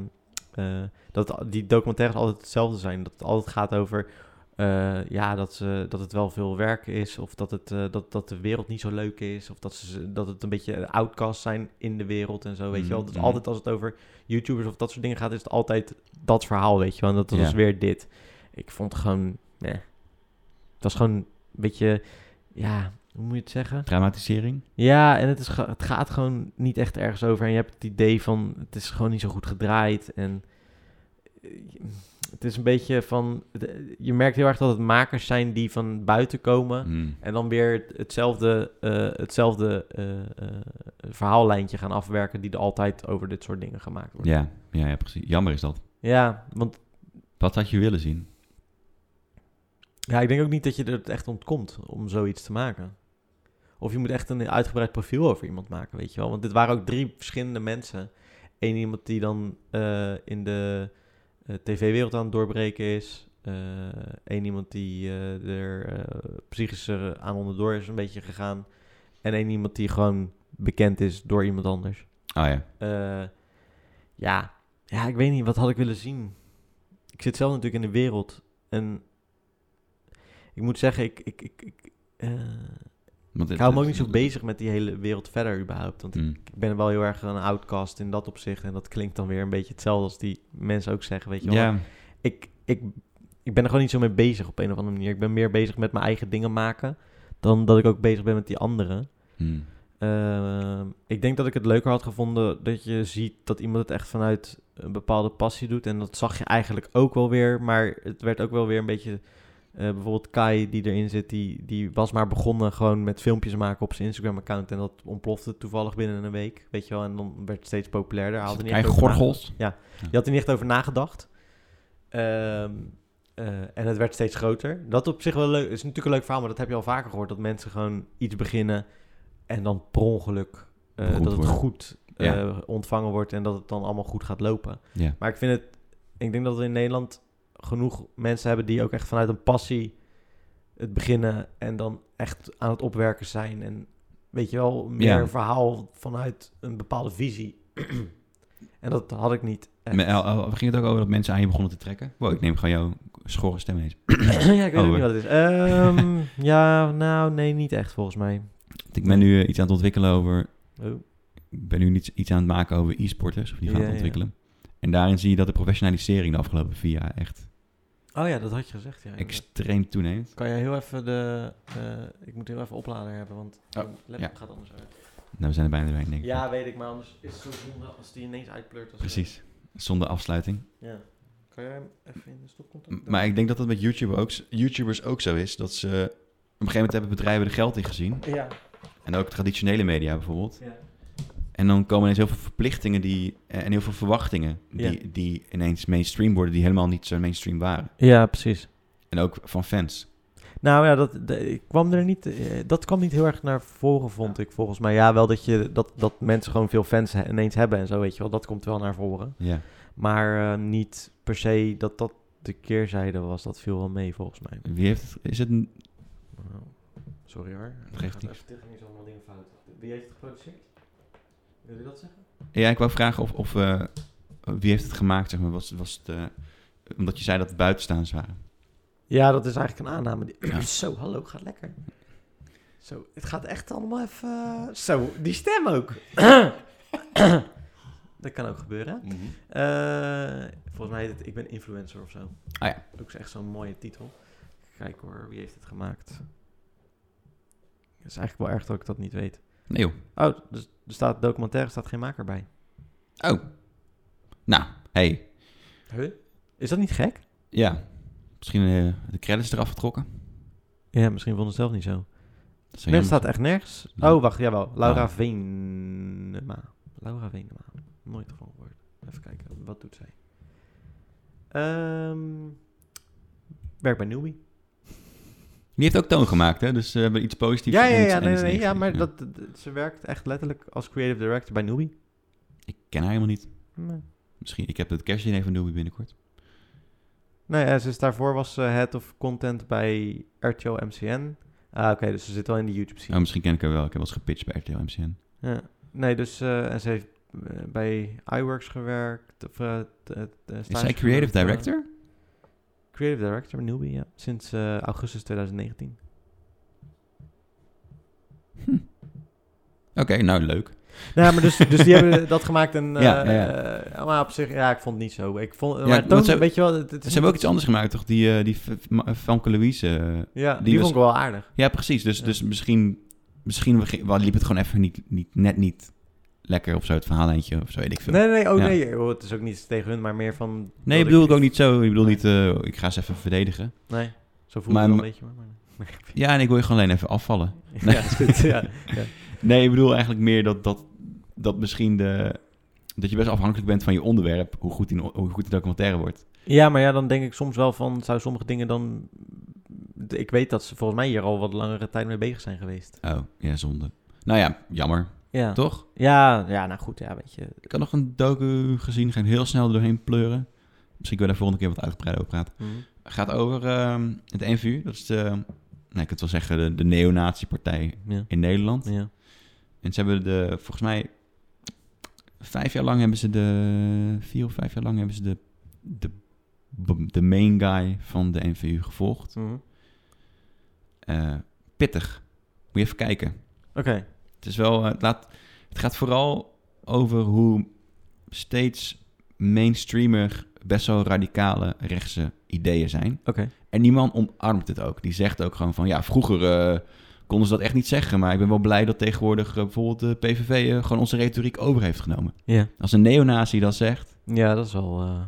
S1: eh, dat al- die documentaires altijd hetzelfde zijn. Dat het altijd gaat over eh, ja, dat, ze, dat het wel veel werk is, of dat, het, eh, dat, dat de wereld niet zo leuk is, of dat, ze, dat het een beetje outcasts zijn in de wereld en zo, weet je wel. Dus
S2: Mhm.
S1: altijd als het over YouTubers of dat soort dingen gaat, is het altijd dat verhaal, weet je wel. En dat was
S2: Ja.
S1: weer dit. Ik vond het gewoon, nee. Het was gewoon een beetje, ja, hoe moet je het zeggen?
S2: Dramatisering.
S1: Ja, en het, is, ge- het gaat gewoon niet echt ergens over. En je hebt het idee van, het is gewoon niet zo goed gedraaid. En eh, het is een beetje van, de- je merkt heel erg dat het makers zijn die van buiten komen.
S2: Mm.
S1: En dan weer hetzelfde, eh, hetzelfde eh, eh, verhaallijntje gaan afwerken die er altijd over dit soort dingen gemaakt wordt.
S2: Ja, ja, ja, precies. Jammer is dat.
S1: Ja, want
S2: Wat had je willen zien?
S1: ja, ik denk ook niet dat je er echt ontkomt om zoiets te maken. Of je moet echt een uitgebreid profiel over iemand maken, weet je wel. Want dit waren ook drie verschillende mensen. Eén iemand die dan eh, in de eh, tv-wereld aan het doorbreken is. Eén iemand die eh, er eh, psychisch eh, aan onderdoor is een beetje gegaan. En één iemand die gewoon bekend is door iemand anders.
S2: Oh ja.
S1: Eh, ja. ja, ik weet niet, wat had ik willen zien? Ik zit zelf natuurlijk in de wereld. En Ik moet zeggen, ik, ik, ik, ik, eh, ik
S2: Want het-
S1: hou me ook
S2: het-
S1: niet zo bezig met die hele wereld verder überhaupt. Want
S2: Mm.
S1: ik ben wel heel erg een outcast in dat opzicht. En dat klinkt dan weer een beetje hetzelfde als die mensen ook zeggen, weet je wel.
S2: Ja,
S1: Ik, ik, ik ben er gewoon niet zo mee bezig op een of andere manier. Ik ben meer bezig met mijn eigen dingen maken dan dat ik ook bezig ben met die anderen.
S2: Mm.
S1: Ehm, ik denk dat ik het leuker had gevonden dat je ziet dat iemand het echt vanuit een bepaalde passie doet. En dat zag je eigenlijk ook wel weer. Maar het werd ook wel weer een beetje. eh, bijvoorbeeld Kai die erin zit, die, die was maar begonnen gewoon met filmpjes maken op zijn Instagram-account. En dat ontplofte toevallig binnen een week. Weet je wel, en dan werd het steeds populairder. Hij had er niet echt
S2: Eigen
S1: over na-
S2: gorgels.
S1: Je had er niet echt over nagedacht. Ehm, eh, en het werd steeds groter. Dat op zich wel leuk. is natuurlijk een leuk verhaal, maar dat heb je al vaker gehoord. Dat mensen gewoon iets beginnen en dan per ongeluk eh,
S2: Beroemd
S1: dat het
S2: worden.
S1: goed eh,
S2: Ja.
S1: ontvangen wordt en dat het dan allemaal goed gaat lopen.
S2: Ja.
S1: Maar ik vind het, ik denk dat we in Nederland genoeg mensen hebben die ook echt vanuit een passie het beginnen en dan echt aan het opwerken zijn. En weet je wel, meer
S2: Ja.
S1: een verhaal vanuit een bepaalde visie. en dat had ik niet. echt.
S2: Maar, eh, oh, ging het ook over dat mensen aan je begonnen te trekken? Wow, ik neem gewoon jouw schorre stem eens.
S1: ja, ik weet
S2: Oh,
S1: ook
S2: eh.
S1: niet wat het is. Ehm, ja, nou, nee, niet echt volgens mij.
S2: Ik ben nu eh, iets aan het ontwikkelen over
S1: Oh,
S2: ik ben nu iets, iets aan het maken over e-sporters, of die gaan
S1: Ja,
S2: het
S1: ja.
S2: ontwikkelen. En daarin zie je dat de professionalisering de afgelopen vier jaar echt
S1: oh ja, dat had je gezegd. Ja, inderdaad.
S2: extreem toeneemt.
S1: kan je heel even de... eh, ik moet heel even oplader hebben, want
S2: Oh,
S1: mijn laptop
S2: ja.
S1: gaat anders uit.
S2: Nou, we zijn er bijna doorheen, denk ik.
S1: Ja, weet ik, maar anders is het zo zonde als die ineens uitpleurt. Als
S2: Precies. Zonder afsluiting.
S1: Ja. Kan jij hem even in de stopcontact?
S2: M-
S1: doen?
S2: Maar ik denk dat dat met YouTube ook, YouTubers ook zo is. Dat ze op een gegeven moment hebben bedrijven er geld in gezien.
S1: Ja.
S2: En ook traditionele media bijvoorbeeld.
S1: ja.
S2: En dan komen ineens heel veel verplichtingen die, eh, en heel veel verwachtingen die, die ineens mainstream worden, die helemaal niet zo mainstream waren.
S1: Ja, precies.
S2: En ook van fans.
S1: Nou ja, dat, de- ik kwam er niet, eh, dat kwam niet heel erg naar voren, vond ik volgens mij. Ja, wel dat, je, dat, dat mensen gewoon veel fans he- ineens hebben en zo, weet je wel. Dat komt wel naar voren.
S2: Ja.
S1: Maar eh, niet per se dat dat de keerzijde was. Dat viel wel mee, volgens mij.
S2: Wie heeft, is het een-
S1: Nou, Sorry hoor.
S2: Dat geeft niks.
S1: technisch allemaal dingen fout. Wie heeft het geproduceerd? Wil je dat zeggen?
S2: Ja, ik wou vragen of, of eh, wie heeft het gemaakt, zeg maar. Was, was het, eh, omdat je zei dat het buitenstaanders waren.
S1: Ja, dat is eigenlijk een aanname. Die-
S2: Ja.
S1: Zo, hallo, gaat lekker. Zo, het gaat echt allemaal even... eh, Zo, die stem ook. dat kan ook gebeuren. hè? Eh, volgens mij heet het Ik ben influencer of zo.
S2: Ah ja.
S1: Ook echt zo'n mooie titel. Kijk hoor, wie heeft het gemaakt? Het is eigenlijk wel erg dat ik dat niet weet.
S2: Nee joh.
S1: Oh, dus er staat documentaire, staat geen maker bij.
S2: Oh. Nou, hey.
S1: Is dat niet gek?
S2: Ja. Misschien eh, de credits eraf getrokken.
S1: Ja, misschien vonden ze het zelf niet zo.
S2: Dat zou
S1: Nee, het
S2: jammer
S1: staat echt nergens.
S2: Ja.
S1: Oh, wacht, jawel. Laura
S2: Ja.
S1: Venema. Laura Venema. Nooit van gehoord. Even kijken, wat doet zij? Ehm werk bij Newbie.
S2: zijn. Die heeft ook toon gemaakt, hè? Dus we hebben iets positiefs.
S1: Ja,
S2: en
S1: ja,
S2: iets-
S1: ja,
S2: en
S1: nee,
S2: iets
S1: nee, nee, ja
S2: negatiefs,
S1: maar dat, dat- ze werkt echt letterlijk als creative director bij Newbie.
S2: Ik ken haar helemaal niet.
S1: Nee.
S2: Misschien, ik heb het kerstdiner van Doobie binnenkort.
S1: Nou ja, ze is daarvoor was ze head of content bij RTO MCN. Ah, oké, dus ze zit wel in de YouTube scene.
S2: Oh, misschien ken ik haar wel. Ik heb wel eens gepitcht bij RTL MCN.
S1: Ja. Nee, dus eh, en ze heeft eh, bij iWorks gewerkt. Of, eh, t- eh, t- eh,
S2: Is
S1: stage
S2: zij creative
S1: gewerkt, eh,
S2: director?
S1: creative director bij Newbie, ja. Sinds eh, augustus 2019.
S2: Oké, nou leuk.
S1: Nou, ja, maar dus, dus die hebben dat gemaakt en... eh,
S2: Ja, ja, ja.
S1: eh, maar op zich, ja, ik vond het niet zo. Ik vond, maar
S2: want
S1: Toon,
S2: ze-
S1: weet je wel... Het, het is
S2: Ze hebben ook
S1: niet-
S2: iets anders gemaakt, toch? Die, eh die F- Ma- Famke Louise eh,
S1: Ja, die,
S2: die was-
S1: vond ik wel aardig.
S2: Ja, precies. Dus,
S1: Ja.
S2: dus misschien, misschien begi- wel liep het gewoon even niet, niet, net niet lekker of zo, het verhaaleintje of zo, weet ik veel.
S1: Nee, nee, oh
S2: Ja.
S1: nee, joh, het is ook niet tegen hun, maar meer van... dat
S2: Nee, ik bedoel ik ook niet zo. Ik bedoel niet, eh, ik ga ze even verdedigen.
S1: Nee, zo voel ik
S2: Maar-
S1: het wel een beetje. hoor, Maar, nee.
S2: Ja, en ik wil je gewoon alleen even afvallen.
S1: ja, is goed. Ja, ja.
S2: Nee, ik bedoel eigenlijk meer dat, dat, dat misschien de... Dat je best afhankelijk bent van je onderwerp, hoe goed die, hoe goed die documentaire wordt.
S1: Ja, maar ja, dan denk ik soms wel van, zou sommige dingen dan... Ik weet dat ze volgens mij hier al wat langere tijd mee bezig zijn geweest.
S2: Oh, ja, zonde. Nou ja, jammer.
S1: Ja,
S2: Toch?
S1: ja, ja nou goed, ja, weet je.
S2: Ik had nog een docu gezien, ga ik heel snel er doorheen pleuren. Misschien kunnen we daar volgende keer wat uitgebreid over praten.
S1: Hm.
S2: gaat over ehm, het NVU. Dat is de, nou, ik kan het wel zeggen, de, de neonatiepartij
S1: Ja,
S2: in Nederland.
S1: ja.
S2: En ze hebben de, volgens mij, vijf jaar lang hebben ze de, vier of vijf jaar lang hebben ze de,
S1: Mhm.
S2: de, de main guy van de NVU gevolgd.
S1: Hm.
S2: eh, pittig. Moet je even kijken.
S1: Oké.
S2: Het is wel, eh, het, laat, het gaat vooral over hoe steeds mainstreamer best wel radicale rechtse ideeën zijn.
S1: Oké.
S2: En die man omarmt het ook. Die zegt ook gewoon van, ja, vroeger eh, konden ze dat echt niet zeggen. Maar ik ben wel blij dat tegenwoordig eh, bijvoorbeeld de PVV eh, gewoon onze retoriek over heeft genomen.
S1: Ja.
S2: Als een neonazi dat zegt,
S1: Ja, dat is wel eh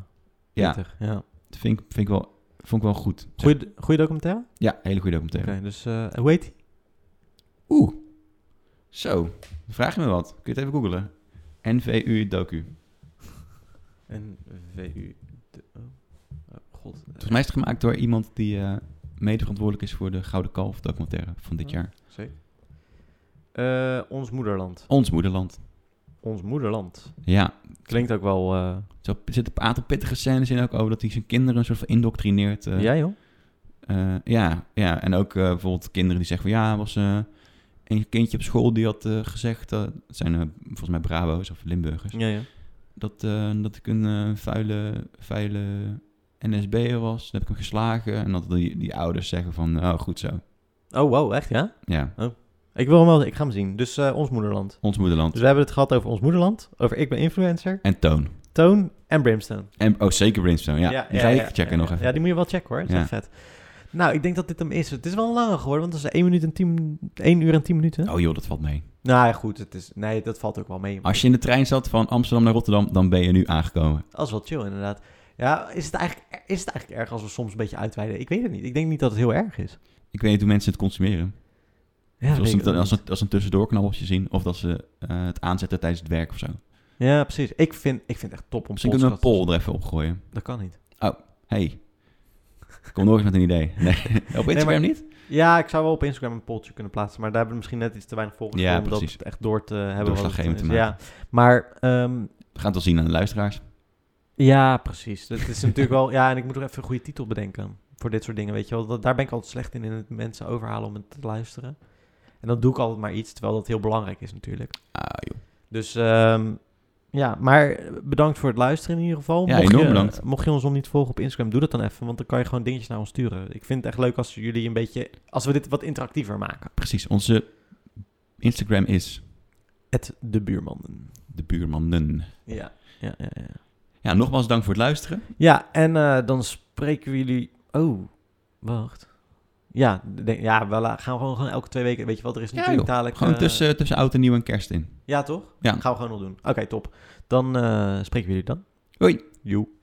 S2: ja,
S1: pittig. Ja.
S2: dat vind ik, vind ik wel, vond ik wel goed.
S1: Goeie, goeie documentaire?
S2: Ja, hele goede
S1: Oké,
S2: documentaire.
S1: dus eh, hoe heet die?
S2: Oeh, zo, dan vraag je me wat. Kun je het even googlen? NVU docu.
S1: NVU. de- Oh, Oh, god.
S2: Volgens mij is het gemaakt door iemand die eh, mede verantwoordelijk is voor de Gouden Kalf documentaire van dit
S1: Oh.
S2: jaar.
S1: Zeker. Eh, ons moederland.
S2: Ons moederland.
S1: Ons moederland.
S2: Ja,
S1: Klinkt ook wel... eh,
S2: zo er zitten een aantal pittige scènes in ook over dat hij zijn kinderen een soort van indoctrineert. eh,
S1: ja, joh.
S2: Eh, ja, ja, en ook eh, bijvoorbeeld kinderen die zeggen van ja, er was eh, een kindje op school die had eh, gezegd, eh, het zijn eh, volgens mij Brabo's of Limburgers,
S1: Ja, ja.
S2: dat, eh, dat ik een eh, vuile, vuile NSB'er was. Dan heb ik hem geslagen en dat die, die ouders zeggen van oh, goed zo.
S1: Oh, wow, echt, ja?
S2: Ja,
S1: Ik wil hem wel... Ik ga hem zien. Dus eh, ons moederland.
S2: ons moederland.
S1: Dus we hebben het gehad over ons moederland, over Ik ben influencer,
S2: En Toon.
S1: Toon en Brimstone.
S2: En, oh, zeker Brimstone, ja. die ga ik
S1: ja,
S2: checken
S1: ja,
S2: nog
S1: ja.
S2: even.
S1: Ja, die moet je wel checken hoor. Dat is
S2: Ja.
S1: echt vet. Nou, ik denk dat dit hem is. Het is wel langer geworden, want het is 1, minuut en 10, 1 uur en 10 minuten.
S2: Oh joh, dat valt mee.
S1: Nou ja, goed. Het is, nee, dat valt ook wel mee.
S2: Als je in de trein zat van Amsterdam naar Rotterdam, dan ben je nu aangekomen.
S1: Dat is wel chill inderdaad. Ja, is het, eigenlijk, is het eigenlijk erg als we soms een beetje uitweiden? Ik weet het niet. Ik denk niet dat het heel erg is.
S2: Ik weet niet hoe mensen het consumeren.
S1: Ja, dat
S2: Zoals
S1: weet
S2: ze
S1: ik
S2: het
S1: ook
S2: als,
S1: niet.
S2: een, als een tussendoorknabbeltje zien. Of dat ze eh, het aanzetten tijdens het werk of zo.
S1: ja precies. Ik vind, ik vind het echt top om
S2: Misschien kunnen we een
S1: podcasts-
S2: poll er even opgooien.
S1: Dat kan niet.
S2: Hey, kom nog eens met een idee. Nee. Op Instagram
S1: maar-
S2: niet?
S1: Ja, ik zou wel op Instagram een polltje kunnen plaatsen, maar daar hebben we misschien net iets te weinig volgers
S2: Ja,
S1: voor om dat
S2: precies.
S1: echt door te hebben. wat het
S2: Doorslaggevend te
S1: is. Ja, maar ehm,
S2: We gaan het wel zien aan de luisteraars.
S1: Ja, precies. Dat is natuurlijk wel. Ja, en ik moet nog even een goede titel bedenken voor dit soort dingen. Weet je wel, Dat- daar ben ik altijd slecht in, in het mensen overhalen om het te luisteren. En dan doe ik altijd maar iets, terwijl dat heel belangrijk is natuurlijk.
S2: Ah, joh.
S1: Dus ehm, ja, maar bedankt voor het luisteren in ieder geval.
S2: Ja, enorm
S1: je,
S2: bedankt.
S1: Mocht je ons nog niet volgen op Instagram, doe dat dan even, want dan kan je gewoon dingetjes naar ons sturen. Ik vind het echt leuk als jullie een beetje, als we dit wat interactiever maken.
S2: Precies, onze Instagram is
S1: Het de buurmannen.
S2: de buurmannen.
S1: Ja, ja, ja. ja.
S2: Ja, nogmaals dank voor het luisteren.
S1: Ja, en eh, dan spreken we jullie. Oh, wacht. Ja, de- ja we la- gaan gewoon, gewoon elke twee weken. Weet je wat, er is
S2: Ja,
S1: natuurlijk
S2: joh.
S1: dadelijk.
S2: Gewoon
S1: eh,
S2: tussen, tussen oud en nieuw en kerst in.
S1: Ja, toch?
S2: Ja.
S1: Gaan we gewoon nog doen. Oké, top. Dan eh, spreken we jullie dan.
S2: Hoi.
S1: Joe.